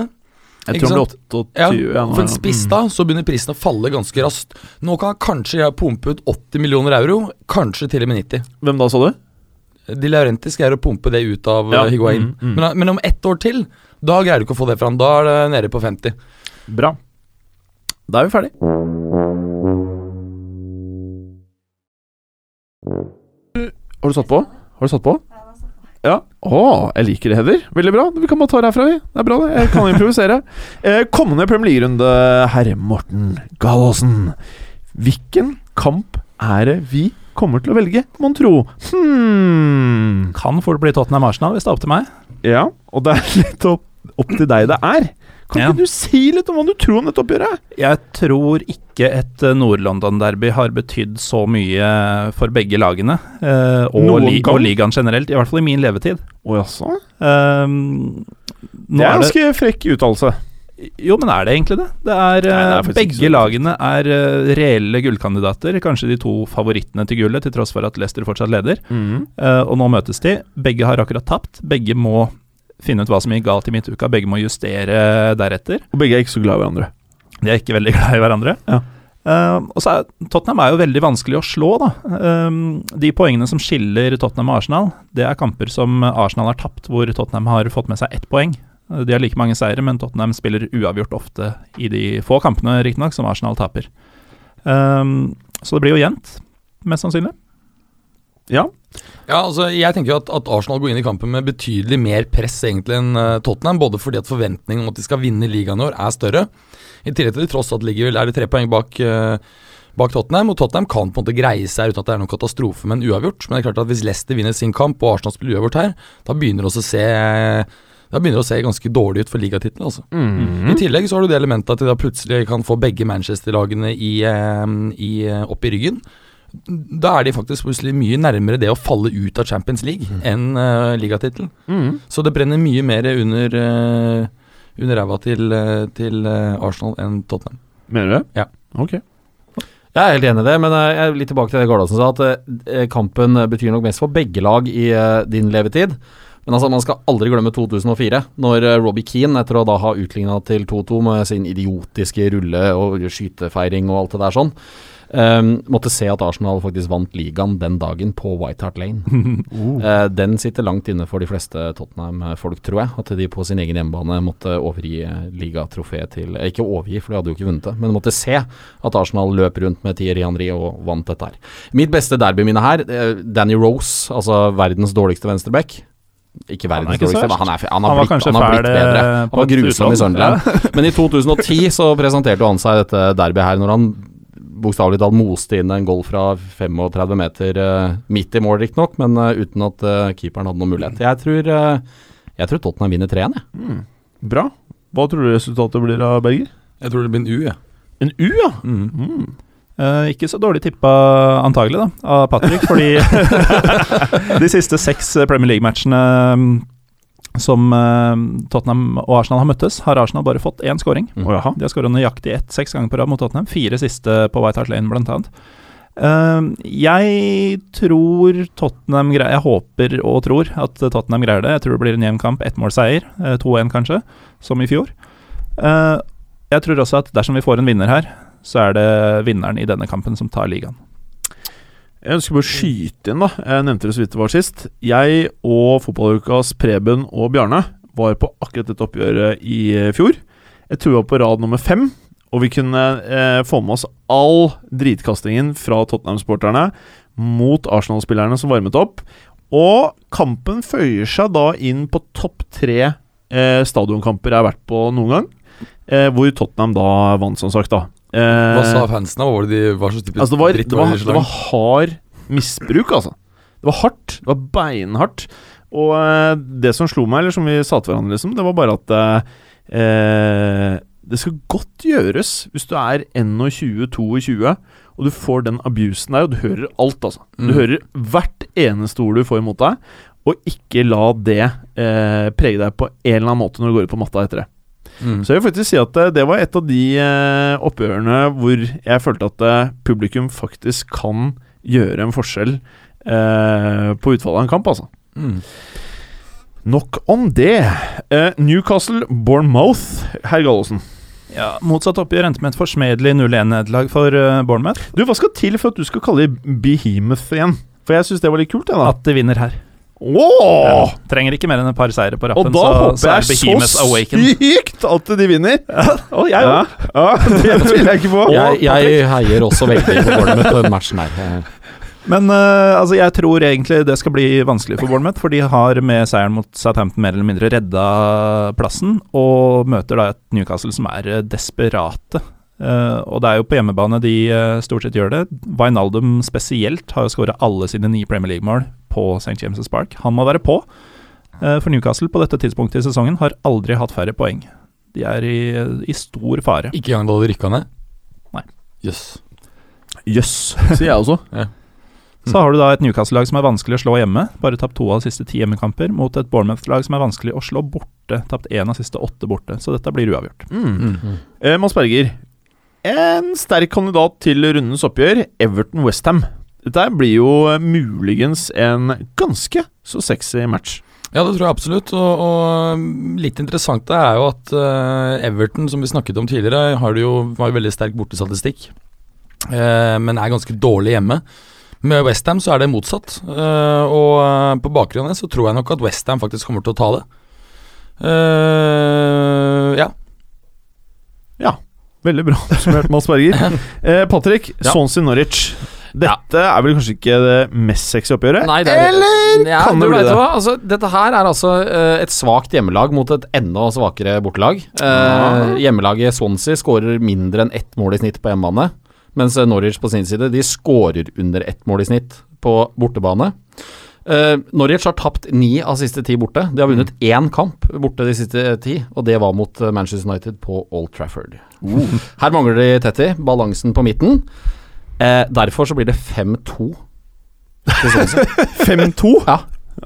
S3: Jeg
S5: Ikke
S3: tror han blir 28.
S5: Ja,
S3: Ja, nå,
S5: For en
S3: ja.
S5: spiss da, så begynner prisen å falle ganske raskt. Nå kan han kanskje pumpe ut 80 millioner euro, kanskje til og med 90.
S3: Mm. Hvem da, sa du?
S5: De Laurentis greier å pumpe det ut av
S3: Ja,
S5: eh, Higuain.
S3: mm, mm.
S5: Men, men om ett år til, da greier du ikke å få det fram. Da er det nede på 50.
S3: Bra. Da er vi ferdig. Har du satt på? Har du satt på? Ja. Å, jeg liker det, Heather. Veldig bra. Vi kan bare ta det herfra, vi. Det er bra, det. Jeg kan improvisere. Eh, kommende Premier League-runde, herre Morten Gallosen. Hvilken kamp er det vi kommer til å velge, mon tro? Hmm.
S4: Kan fort bli Tottenham Arsenal, hvis det er opp til meg.
S3: Ja, og det er litt opp, opp til deg det er. Kan
S4: Ja.
S3: ikke du si litt om hva du tror om dette oppgjøret?
S4: Jeg tror ikke et eh, Nord-London-derby har betydd så mye for begge lagene. eh, og,
S3: Noen
S4: li
S3: gang.
S4: og ligaen generelt, i hvert fall i min levetid.
S3: Å jaså?
S4: Ehm, nå
S3: Det er
S4: er det-
S3: ganske frekk uttalelse.
S4: Jo, men er det egentlig det? Det
S3: Nei,
S4: er,
S3: det er
S4: eh,
S3: faktisk ikke
S4: Begge
S3: så
S4: lagene er eh, reelle gullkandidater. Kanskje de to favorittene til gullet, til tross for at Leicester fortsatt leder.
S3: Mm.
S4: Eh, og nå møtes de. Begge har akkurat tapt. Begge må finne ut hva som gikk galt i midtuka. Begge må justere deretter.
S3: Og begge er ikke så glad i hverandre.
S4: De er ikke veldig glad i hverandre.
S3: Ja.
S4: Eh, og så er, Tottenham er jo veldig vanskelig å slå, da. Eh, de poengene som skiller Tottenham og Arsenal, det er kamper som Arsenal har tapt, hvor Tottenham har fått med seg ett poeng. Eh, De har like mange seire, men Tottenham spiller uavgjort ofte i de få kampene riktignok som Arsenal taper. Eh, så det blir jo jevnt, mest sannsynlig.
S3: Ja.
S5: Ja, altså, jeg tenker jo at, at Arsenal går inn i kampen med betydelig mer press egentlig enn eh, Tottenham. Både fordi at forventningen om at de skal vinne ligaen i år er større. I tillegg til de tross alt ligger vel er de tre poeng bak, eh, bak Tottenham. Og Tottenham kan på en måte greie seg uten at det er noen katastrofe med en uavgjort. Men det er klart at hvis Leicester vinner sin kamp og Arsenal spiller uavgjort her, da begynner det også å se da begynner det å se ganske dårlig ut for ligatittelen. Altså.
S3: Mm.
S2: Mm.
S5: I tillegg så har du det elementet at de da plutselig kan få begge Manchester-lagene i, eh, i, eh, opp i ryggen. Da er de faktisk plutselig mye nærmere det å falle ut av
S3: Mm.
S5: Champions League enn uh, ligatittelen. Så det brenner mye mer under, eh, under ræva til, eh, til eh, Arsenal enn Tottenham.
S3: Mener du det?
S5: Ja.
S3: Ok.
S2: Jeg er helt enig i det, men eh, jeg er litt tilbake til det Gardaasen sa, at eh, kampen eh, betyr nok mest for begge lag i eh, din levetid. Men altså, man skal aldri glemme 2004, når eh, Robbie Keane, etter å da ha utligna til 2-2 med sin idiotiske rulle og skytefeiring og alt det der sånn, eh, måtte se at Arsenal faktisk vant ligaen den dagen på White Hart Lane.
S4: Mm.
S2: Eh, den sitter langt inne for de fleste Tottenham-folk, tror jeg. At de på sin egen hjemmebane måtte overgi eh, ligatrofeet til eh, Ikke overgi, for de hadde jo ikke vunnet det, men måtte se at Arsenal løp rundt med Thierry Henry og vant dette her. Mitt beste derbyminne her, eh, Danny Rose, altså verdens dårligste venstreback. Ikke
S4: Han er
S2: verdens
S4: ikke så
S2: dårligste,
S4: verst.
S2: men han, er, f- han,
S4: Han
S2: har
S4: var
S2: blitt,
S4: kanskje
S2: han har blitt
S4: fæl, eh,
S2: bedre.
S4: på
S2: Han var
S4: et
S2: grusom
S4: utlån.
S2: i Sunderland. Men i 2010 så presenterte jo han seg dette derbyet her, når han bokstavelig talt moste inn en goal fra 35 meter, eh, midt i mål riktignok, men eh, uten at eh, keeperen hadde noen mulighet. Jeg tror, eh, jeg tror Tottenham vinner 3-1, jeg.
S3: Bra. Hva tror du resultatet blir av Berger?
S5: Jeg tror det blir en U, jeg.
S3: En U, ja?
S4: Mm.
S3: Mm.
S4: Eh, ikke så dårlig tippa, antagelig, da, av Patrick. Fordi de siste seks eh, Premier League-matchene mm, som eh, Tottenham og Arsenal har møttes, har Arsenal bare fått én scoring.
S2: Mm.
S3: Å, jaha.
S4: De har skåra nøyaktig ett seks ganger på rad mot Tottenham. Fire siste på White Hart Lane, blant annet. Ehm, jeg tror Tottenham greier Jeg håper og tror at Tottenham greier det. Jeg tror det blir en jevn kamp. Ettmålseier. eh, 2-1, kanskje, som i fjor. Eh, jeg tror også at dersom vi får en vinner her, så er det vinneren i denne kampen som tar ligaen.
S3: Jeg ønsker bare å skyte inn, da. Jeg nevnte det så vidt det var sist. Jeg og fotballukas Preben og Bjarne var på akkurat dette oppgjøret i eh, fjor. Jeg tror vi var på rad nummer fem, og vi kunne eh, få med oss all dritkastingen fra Tottenham-sporterne mot Arsenal-spillerne som varmet opp. Og kampen føyer seg da inn på topp tre eh, stadionkamper jeg har vært på noen gang, eh, hvor Tottenham da vant, som sagt. da. Eh,
S5: Hva sa fansen da? Hva var det de var så typisk
S3: Altså det var,
S5: dritt
S3: det var,
S5: de slang?
S3: det var hard misbruk, altså. Det var hardt. Det var beinhardt. Og eh, det som slo meg, eller som vi sa til hverandre, liksom, det var bare at eh, eh, Det skal godt gjøres hvis du er 21-22 og du får den abusen der, og du hører alt, altså. Du
S5: Mm.
S3: hører hvert eneste ord du får imot deg, og ikke la det eh, prege deg på en eller annen måte når du går ut på matta etter det.
S5: Mm.
S3: Så jeg vil faktisk si at eh, det var et av de eh, oppgjørene hvor jeg følte at eh, publikum faktisk kan gjøre en forskjell eh, på utfallet av en kamp, altså.
S5: Mm.
S3: Nok om det. Eh, Newcastle Bournemouth, herr Gallosen.
S4: Ja, Motsatt oppgjør endte med et forsmedelig 0-1-nederlag for eh, Bournemouth.
S3: Du, hva skal til for at du skal kalle de Behemoth igjen? For jeg syns det var litt kult, jeg, da.
S4: At de vinner her.
S3: Åh!
S4: Ja, trenger ikke mer enn et par seire på
S3: Og
S4: rappen,
S3: da
S4: så, så er
S3: håper jeg
S4: Behemoth
S3: så
S4: Awaken.
S3: sykt at de vinner!
S4: Å, jeg
S3: Ja,
S4: òg.
S3: ja det tviler jeg ikke på.
S2: Jeg, jeg heier også veldig på Bournemouth på den matchen her. Eh,
S4: Men eh, altså, jeg tror egentlig det skal bli vanskelig for Bournemouth, for de har med seieren mot Southampton mer eller mindre redda plassen, og møter da et Newcastle som er eh, desperate. Eh, og det er jo på hjemmebane de eh, stort sett gjør det. Wijnaldum spesielt har jo skåra alle sine ni Premier League-mål på St. James' Park. Han må være på, eh, for Newcastle på dette tidspunktet i sesongen har aldri hatt færre poeng. De er i, eh, i stor fare.
S5: Ikke engang da de rykka ned?
S4: Nei.
S5: Jøss.
S3: Jøss, sier jeg også.
S4: Så har du da et Newcastle-lag som er vanskelig å slå hjemme, bare tapt to av de siste ti hjemmekamper, mot et Bournemouth-lag som er vanskelig å slå borte, tapt én av de siste åtte borte. Så dette blir uavgjort.
S3: Mm.
S5: Mm.
S3: Eh, Mads Berger, en sterk kandidat til rundens oppgjør, Everton Westham. Dette her blir jo eh, muligens en ganske så sexy match.
S5: Ja, det tror jeg absolutt. Og, og um, litt interessant det er jo at eh, Everton, som vi snakket om tidligere, har det jo, har jo veldig sterk bortestatistikk, eh, men er ganske dårlig hjemme. Med Westham så er det motsatt, eh, og eh, på bakgrunn av det så tror jeg nok at Westham faktisk kommer til å ta det. Eh, ja.
S3: Veldig bra oppsummert, Mads Berger. Eh, Patrick,
S2: Ja.
S3: Swansea Norwich. Dette er vel kanskje ikke det mest sexy oppgjøret?
S2: Nei, det er-
S3: Eller
S2: Ja,
S3: kan det
S2: du
S3: bli
S2: vet
S3: det?
S2: hva, altså, dette her er altså eh, et svakt hjemmelag mot et enda svakere bortelag. Eh, Hjemmelaget Swansea skårer mindre enn ett mål i snitt på hjemmebane, mens eh, Norwich på sin side de skårer under ett mål i snitt på bortebane. Eh, Norwich har tapt ni av siste ti borte. De har vunnet
S3: Mm.
S2: én kamp borte de siste ti, og det var mot eh, Manchester United på Old Trafford.
S3: Uh.
S2: Her mangler de Tetty, balansen på midten. Eh, derfor så blir det 5-2 til Swansea.
S3: 5-2?
S2: Ja.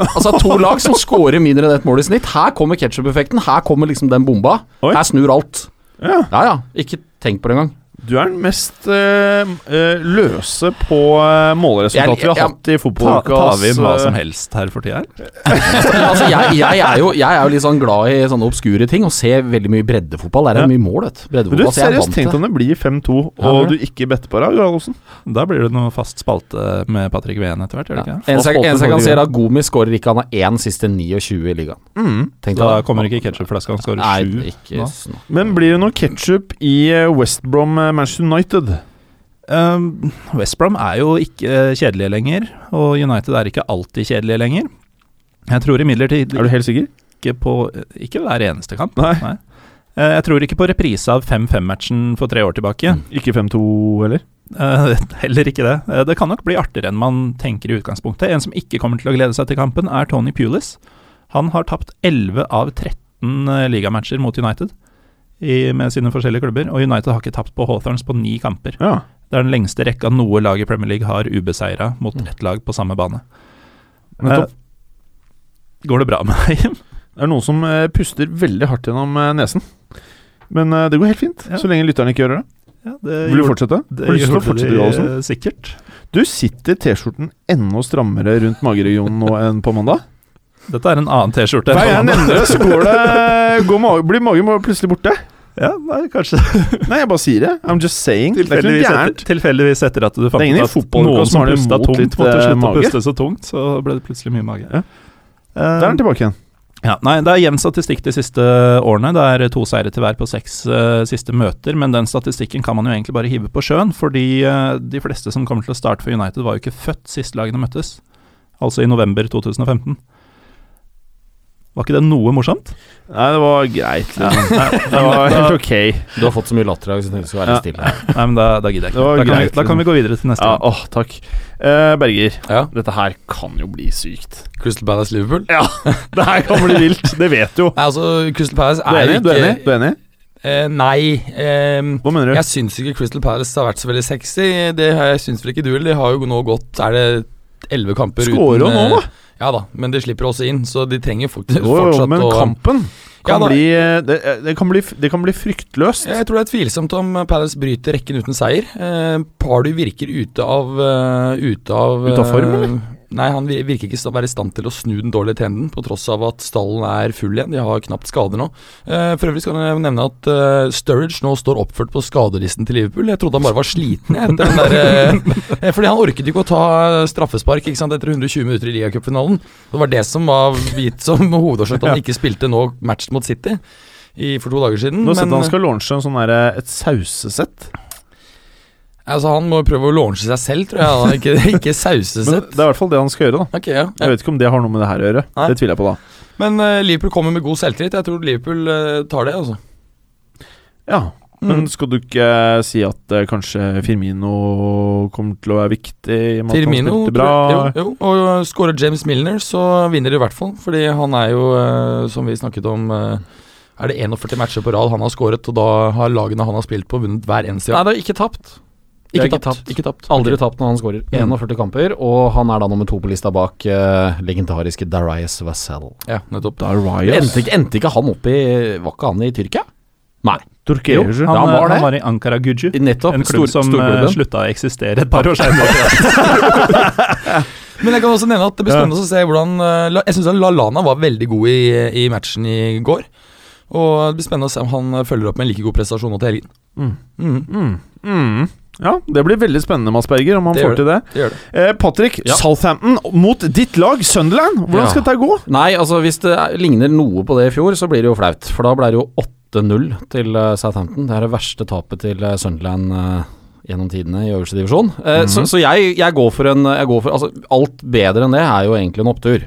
S2: Altså to lag som scorer mindre enn ett mål i snitt. Her kommer ketsjup-effekten. Her kommer liksom den bomba.
S3: Oi.
S2: Her snur alt.
S3: Ja.
S2: Ja ja, ikke tenk på det engang.
S3: Du er den mest eh, eh, løse på eh, målresultat
S2: Jeg-
S3: vi har
S2: jeg-
S3: hatt i
S4: Ta,
S3: fotballuka.
S4: tar vi inn hva
S3: altså.
S4: som helst her for tida? her?
S2: altså, jeg, jeg, er jo, jeg er jo litt sånn glad i sånne obskure ting, og ser veldig mye breddefotball. Der er det mye mål, vet
S3: Men
S2: du.
S3: du,
S2: Breddefotball, så Altså, jeg er
S3: seriøst,
S2: vant til
S3: tenk
S2: det.
S3: om det blir 5-2,
S2: Ja,
S3: og
S2: det.
S3: du ikke better på det, Harald Olsen.
S4: Da blir det noe fast spalte med Patrick Ween etter hvert, gjør det
S2: Ja.
S4: ikke det?
S2: En sak- en sak jeg kan si, er at Gomi skårer ikke. Han har én siste 29 i ligaen. Tenk deg
S4: Da
S2: det.
S4: kommer ikke ketsjupflaska, han skårer
S2: Nei,
S4: sju.
S2: ikke
S4: nå.
S2: snakk.
S3: Men blir det noe ketsjup i eh, West Brom eh, Manchester United?
S4: Um, West Brom er jo ikke eh, kjedelige lenger, og United er ikke alltid kjedelige lenger. Jeg tror imidlertid
S3: Er du helt sikker?
S4: ikke på eh, Ikke hver eneste kamp.
S3: Nei.
S4: Eh, Jeg tror ikke på reprise av 5-5-matchen for tre år tilbake.
S3: Mm. Ikke 5-2 heller?
S4: Eh, Heller ikke det. Eh, Det kan nok bli artigere enn man tenker i utgangspunktet. En som ikke kommer til å glede seg til kampen, er Tony Pulis. Han har tapt 11 av 13 eh, ligamatcher mot United i, med sine forskjellige klubber, og United har ikke tapt på Hawthorns på ni kamper.
S3: Ja.
S4: Det er den lengste rekka noe lag i Premier League har ubeseira mot ett lag på samme bane. Eh,
S3: Nettopp.
S4: Går det bra med deg, Jim?
S3: Det er noen som eh, puster veldig hardt gjennom eh, nesen. Men eh, det går helt fint,
S4: Ja.
S3: så lenge lytterne ikke gjør det.
S4: Ja, det
S3: Vil du fortsette?
S4: eh,
S3: Har du lyst til å fortsette, du, Olsen?
S4: sikkert.
S3: Du sitter T-skjorten enda strammere rundt mageregionen nå enn på mandag.
S4: Dette er en annen T-skjorte.
S3: Hver gang jeg nevner det, så går det, går mage, blir magen bare plutselig borte.
S4: Ja, nei, kanskje
S3: Nei, jeg bare sier det. I'm just saying. Det er ikke noe
S4: tilfeldigvis
S3: gærent.
S4: etter, tilfeldigvis etter at du fant
S3: ingen
S4: ut
S3: i
S4: at
S3: fotballuka
S4: noen
S3: som
S4: som
S3: har det
S4: pusta
S3: imot
S4: tungt,
S3: litt,
S4: måtte
S3: eh,
S4: slutte å
S3: mage.
S4: puste så tungt, så ble det plutselig mye mage.
S3: Ja.
S4: Eh,
S3: Der er den tilbake igjen.
S4: ja, nei, det er jevn statistikk de siste eh, årene. Det er to seire til hver på seks eh, siste møter, men den statistikken kan man jo egentlig bare hive på sjøen, fordi eh, de fleste som kommer til å starte for United, var jo ikke født sist lagene møttes, altså i november 2015. Var ikke det noe morsomt?
S3: Nei, det var greit. Liksom. det var helt ok.
S2: Du har fått så mye latter i dag, så jeg tenkte du skulle være
S3: Ja.
S2: litt stille.
S4: Nei, men da, da gidder jeg
S3: Det
S4: ikke.
S3: var
S4: Da kan,
S3: greit,
S4: vi, da kan vi gå videre til neste.
S3: Ja,
S4: gang.
S3: åh, takk. Eh, Berger,
S5: Ja,
S3: dette her kan jo bli sykt.
S5: Crystal Palace Liverpool.
S3: Det her kan bli vilt. Det vet du jo.
S5: Nei, altså, Crystal Palace
S3: Du er
S5: er
S3: enig?
S5: jo
S3: Du
S5: ikke
S3: er enig? Du er enig?
S5: Eh, nei. ehm,
S3: Hva mener du?
S5: jeg syns ikke Crystal Palace har vært så veldig sexy. Det har jeg syns vel ikke du heller. De har jo nå gått Er det elleve kamper
S3: Skårer jo nå,
S5: eh, Ja da, men de slipper også inn, så de trenger folk til
S3: Jo, jo,
S5: fortsatt
S3: men
S5: å
S3: kampen
S5: Ja,
S3: kan
S5: da.
S3: bli, eh, det, det kan bli Det kan bli fryktløst.
S5: Jeg tror det er tvilsomt om Palace bryter rekken uten seier. Eh, Pardew virker ute av eh, Ute av,
S3: Ute av form,
S5: eh, Nei, han vir- virker ikke å være i stand til å snu den dårlige trenden, på tross av at stallen er full igjen. De har knapt skader nå. Eh, for øvrig skal jeg nevne at eh, Sturridge nå står oppført på skadelisten til Liverpool. Jeg trodde han bare var sliten, jeg. Etter den der, eh, eh, fordi han orket ikke å ta eh, straffespark ikke sant, etter 120 minutter i ligacupfinalen. Det var det som var gitt som hovedårsak til at han ikke spilte nå match mot City i, for to dager siden.
S3: Nå setter
S5: men-
S3: han skal launche en sånn der, eh, et sausesett.
S5: Altså Han må jo prøve å launche seg selv, tror jeg. da. Ikke, ikke
S3: Men
S5: sause seg.
S3: det er i hvert fall det han skal gjøre. da
S5: Ok, ja.
S3: Jeg vet ikke om det har noe med det her å gjøre.
S5: Nei.
S3: Det tviler jeg på, da.
S5: Men eh, Liverpool kommer med god selvtillit. Jeg tror Liverpool eh, tar det. altså
S3: Ja, men
S5: Mm.
S3: skal du ikke si at eh, kanskje Firmino kommer til å være viktig? i og med at han
S5: Firmino
S3: spilte bra?
S5: tror jeg- Jo, jo, og eh, skårer James Milner, så vinner de i hvert fall. Fordi han er jo, eh, som vi snakket om eh, Er det 41 matcher på rad han har skåret, og da har lagene han har spilt på, vunnet hver eneste gang?
S2: Nei, det er ikke tapt.
S5: Ikke,
S2: ikke
S5: tapt.
S2: tapt.
S5: ikke tapt.
S2: Aldri tapt når han skårer. 41 kamper, og han er da nummer to på lista bak eh, legendariske Darius Vassell.
S5: Ja, nettopp.
S3: Da er Ryas
S2: Endte, ikke- endte ikke han opp i Var ikke han i Tyrkia? Nei.
S4: Jo,
S3: Turkish.
S4: han,
S2: Ja, var det.
S4: han var i Ankara Guju.
S2: I Nettopp.
S4: En klubb som eh,
S2: storklubben.
S4: slutta å eksistere et par år senere.
S5: Men jeg kan også nevne at det blir spennende å se hvordan eh, La- Jeg syns Lallana var veldig god i, i matchen i går. Og det blir spennende å se om han eh, følger opp med en like god prestasjon nå til helgen.
S3: Mm.
S5: Mm,
S3: Mm. Mm. Ja, det blir veldig spennende, Mads Berger, om han
S5: Det gjør
S3: får til det.
S5: det gjør det.
S3: Eh, Patrick,
S2: Ja.
S3: Southampton mot ditt lag, Sunderland. Hvordan
S2: Ja.
S3: skal dette gå?
S2: Nei, altså hvis det er- ligner noe på det i fjor, så blir det jo flaut. For da ble det jo 8-0 til eh, Southampton. Det er det verste tapet til eh, Sunderland eh, gjennom tidene i øverste divisjon. Eh, Så, så jeg, jeg går for en jeg går for, altså, Alt bedre enn det er jo egentlig en opptur.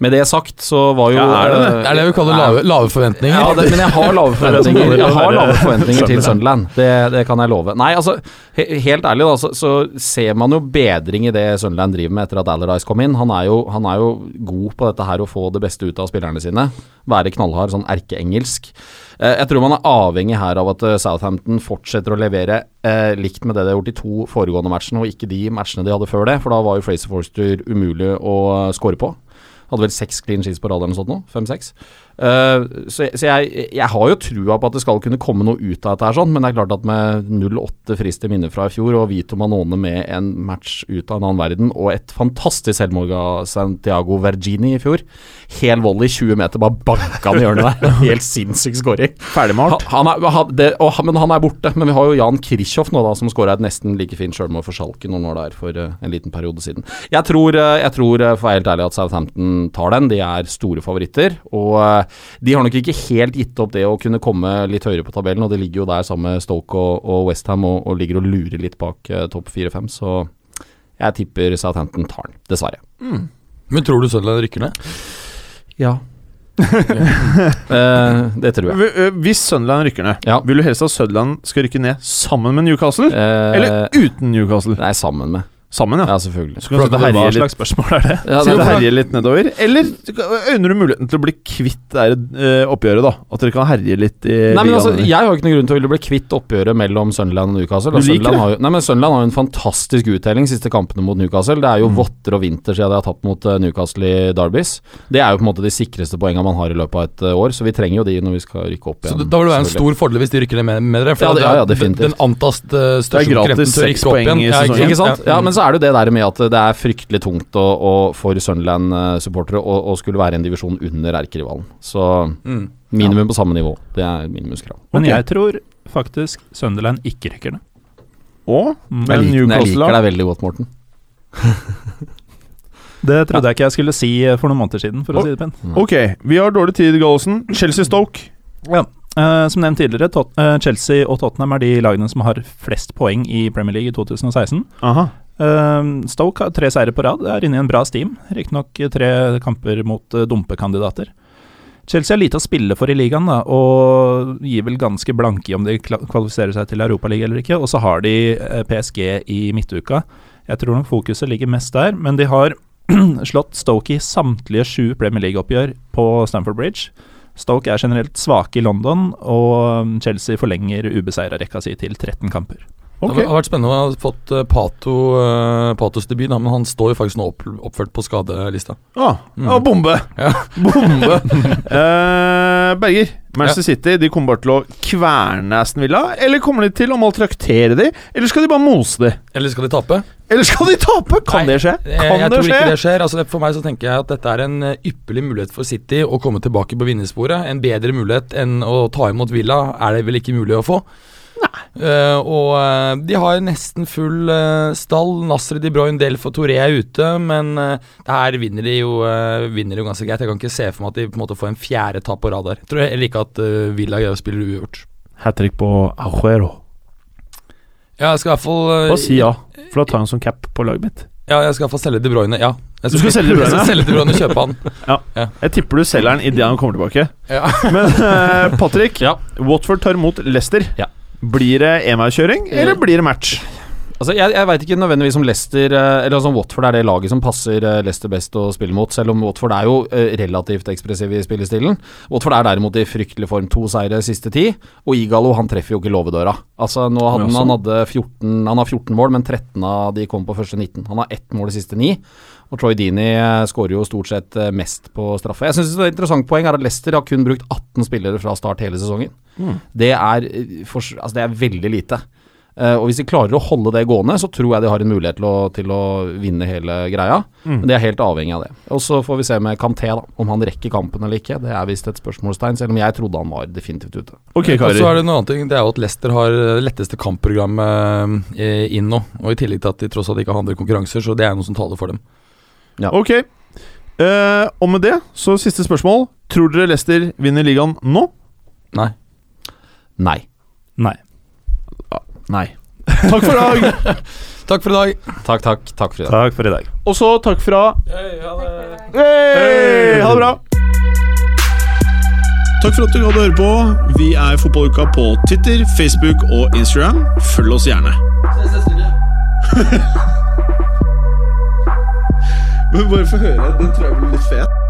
S2: Med det sagt så var jo
S3: Ja, er det det?
S2: eh,
S5: Det er det vi kaller
S2: Nei.
S5: lave, lave forventninger.
S2: Ja, det, men jeg har lave forventninger, jeg har lave forventninger til Sunderland. Det, det kan jeg love. Nei, altså, he, helt ærlig, da, så, så ser man jo bedring i det Sunderland driver med etter at Allardyce kom inn. Han er, jo, han er jo god på dette her, å få det beste ut av spillerne sine. Være knallhard, sånn erkeengelsk. Eh, Jeg tror man er avhengig her av at eh, Southampton fortsetter å levere eh, likt med det de har gjort i to foregående matchene, og ikke de matchene de hadde før det, for da var jo Fraser Forster umulig å eh, score på. Hadde vel seks clean sheets på rad eller noe sånt nå. Fem-seks. Eh, så jeg, så jeg, jeg har jo trua på at det skal kunne komme noe ut av dette her, sånn, men det er klart at med 0-8 frist til minne fra i fjor, og Vito Manone med en match ut av en annen verden, og et fantastisk selvmord av Santiago Vergini i fjor Hel volley 20 meter, bare banka han i hjørnet der. Helt sinnssyk scoring.
S3: Ferdigmalt.
S2: Han, han er, han, det, og, han- men han er borte. Men vi har jo Jan Krichhoff nå, da, som skåra et nesten like fint sjølmål for Schalke noen år der for eh, en liten periode siden. Jeg tror, eh, jeg tror eh, for å være helt ærlig, at Southampton tar den. De er store favoritter. Og eh, de har nok ikke helt gitt opp det å kunne komme litt høyere på tabellen, og de ligger jo der sammen med Stoke og, og Westham og, og ligger og lurer litt bak eh, topp fire-fem, så jeg tipper Southampton tar den, dessverre.
S5: Mm. Men tror du Sunderland rykker ned?
S2: Ja. Eh, det tror jeg.
S3: V- ø, Hvis Sunderland rykker ned,
S2: Ja.
S3: vil du helst at Sunderland skal rykke ned sammen med Newcastle?
S2: Eh,
S3: Eller uten Newcastle?
S2: Nei, sammen med.
S3: Sammen, ja.
S2: Ja, selvfølgelig.
S3: Så kan du sitte og
S4: Hva
S3: herje litt,
S4: slags spørsmål er det?
S2: Ja,
S3: sitte og
S2: det-
S3: herje litt nedover. Eller øyner du muligheten til å bli kvitt det her, ø, oppgjøret, da? At dere kan herje litt i
S2: Nei, men altså,
S3: ligaen?
S2: Jeg har jo ikke noen grunn til å ville bli kvitt oppgjøret mellom Sunderland og Newcastle.
S3: Du
S2: Og
S3: liker
S2: Sunderland
S3: det.
S2: har, jo, nei, men Sunderland har jo en fantastisk uttelling siste kampene mot Newcastle. Det er
S5: Mm.
S2: jo votter og vinter siden de har tapt mot eh, Newcastle i Derbys. Det er jo på en måte de sikreste poengene man har i løpet av et eh, år, så vi trenger jo de når vi skal rykke opp
S5: Så
S2: igjen.
S5: det- Da vil det være en
S2: selvfølgelig.
S5: stor fordel hvis de rykker ned med, med dere. For
S2: Ja, det-
S5: da-
S2: ja, ja,
S5: den-
S2: definitivt.
S5: Den antast eh,
S3: Det
S5: største
S3: er gratis
S5: konkurrenten til å
S3: seks
S5: rykke opp
S3: poeng
S5: igjen.
S3: i
S5: Ja,
S3: sesongen.
S2: ikke sant?
S5: Ja,
S2: Ja, Men så er det jo det der med at det er fryktelig tungt å, å, for Sunderland-supportere å, å skulle være i en divisjon under erkerivalen. Så
S5: mm.
S2: minimum på samme nivå. Det er minimumskrav.
S4: Men
S3: Ok.
S4: jeg tror faktisk Sunderland ikke rykker ned.
S3: Og
S4: Mm.
S3: Men
S2: Jeg liker, jeg
S3: Newcastle,
S2: liker
S3: da?
S2: deg veldig godt, Morten.
S4: Det trodde jeg ikke jeg skulle si eh, for noen måneder siden, for å
S3: Og-
S4: si det pent.
S3: Ok, vi har dårlig tid, Gallosen. Chelsea-Stoke.
S4: Ja. eh, som nevnt tidligere, Tot eh, Chelsea og Tottenham er de lagene som har flest poeng i Premier League i 2016.
S3: Aha.
S4: Eh, Stoke har tre seire på rad, er inne i en bra steam. Riktignok tre kamper mot eh, dumpekandidater. Chelsea har lite å spille for i ligaen, da, og gir vel ganske blanke i om de kla- kvalifiserer seg til Europaligaen eller ikke. Og så har de eh, PSG i midtuka. Jeg tror nok fokuset ligger mest der, men de har slått Stoke i samtlige sju Premier League-oppgjør på Stamford Bridge. Stoke er generelt svake i London, og mm, Chelsea forlenger ubeseira-rekka si til 13 kamper.
S5: Det
S3: Ok.
S5: har vært spennende å ha fått eh, Pato, eh, Patos debut, da, men han står jo faktisk nå opp, oppført på skadelista.
S3: Ah,
S5: Mm.
S3: ah, bombe!
S5: Ja.
S3: Bombe! Eh, Berger, Manchester City de kommer bare til å kverne Aston Villa? Eller kommer de til å maltraktere de? Eller skal de bare mose de?
S5: Eller skal de tape?
S3: Eller skal de tape? Kan
S5: Nei,
S3: det skje?
S5: Jeg,
S3: Kan
S5: Eh, jeg
S3: det
S5: tror
S3: skje?
S5: ikke det skjer. Altså, det- for meg så tenker jeg at dette er en eh, ypperlig mulighet for City å komme tilbake på vinnersporet. En bedre mulighet enn å ta imot Villa er det vel ikke mulig å få. Eh, og eh, de har nesten full eh, stall. Nasri de Bruyne, Delf og Toré er ute, men eh, det her vinner de jo eh, Vinner de jo ganske greit. Jeg kan ikke se for meg at de på en måte får en fjerde tap på rad der. Jeg Tror heller ikke at eh, Villa gjør- spiller uavgjort.
S6: Hat trick på Ajuero.
S5: Ja, jeg skal i hvert fall eh,
S6: Bare si ja, for da tar han
S3: sånn
S6: som cap på laget mitt.
S5: Ja, jeg skal i hvert fall selge De Bruyne. Ja. Jeg
S3: Du skal selge De Bruyne?
S5: Jeg skal selge De Bruyne og kjøpe han.
S3: Jeg tipper du selger den idet han kommer tilbake.
S5: Ja.
S3: Men eh, Patrick,
S2: Ja.
S3: Watford tar imot Leicester.
S2: Ja.
S3: Blir det EMA-kjøring,
S5: Eh,
S3: eller blir det match?
S2: Altså, jeg jeg veit ikke nødvendigvis om Leicester eh, Eller altså om Watford er det laget som passer eh, Leicester best å spille mot, selv om Watford er jo eh, relativt ekspressive i spillestilen. Watford er derimot i fryktelig form. To seire siste ti, og Igalo han treffer jo ikke låvedøra. Altså, nå hadde, han- han, hadde 14, han har 14 mål, men 13 av de kom på første 19. Han har ett mål de siste ni. Og Troy Dini eh, skårer jo stort sett eh, mest på straffe. Jeg synes et interessant poeng er at Leicester har kun brukt 18 spillere fra start hele sesongen.
S3: Mm.
S2: Det, er, eh, for, altså det er veldig lite. Eh, og Hvis de klarer å holde det gående, så tror jeg de har en mulighet til å, til å vinne hele greia. Men de er helt avhengig av det. Og Så får vi se med Kanté, da. Om han rekker kampen eller ikke. Det er visst et spørsmålstegn, selv om jeg trodde han var definitivt ute.
S3: Ok,
S5: Og så
S3: karer.
S5: er det en annen ting, det er jo at Leicester har eh, det letteste kampprogrammet eh, inn nå. Og i tillegg til at de tross alt ikke har andre konkurranser, så det er noe som taler for dem.
S3: Ok. Eh, og med det, så siste spørsmål. Tror dere Leicester vinner ligaen nå?
S5: Nei.
S2: Nei.
S4: Nei.
S3: Nei. Takk for i dag.
S5: Takk for i dag.
S2: Takk, takk. Takk for i dag.
S4: Takk for i dag.
S3: Og så takk fra Hei, Ha det bra.
S1: Takk for at du hadde høre på. Vi er Fotballuka på Titter, Facebook og Instagram. Følg oss gjerne. Men bare få høre. Den tror jeg blir litt fet.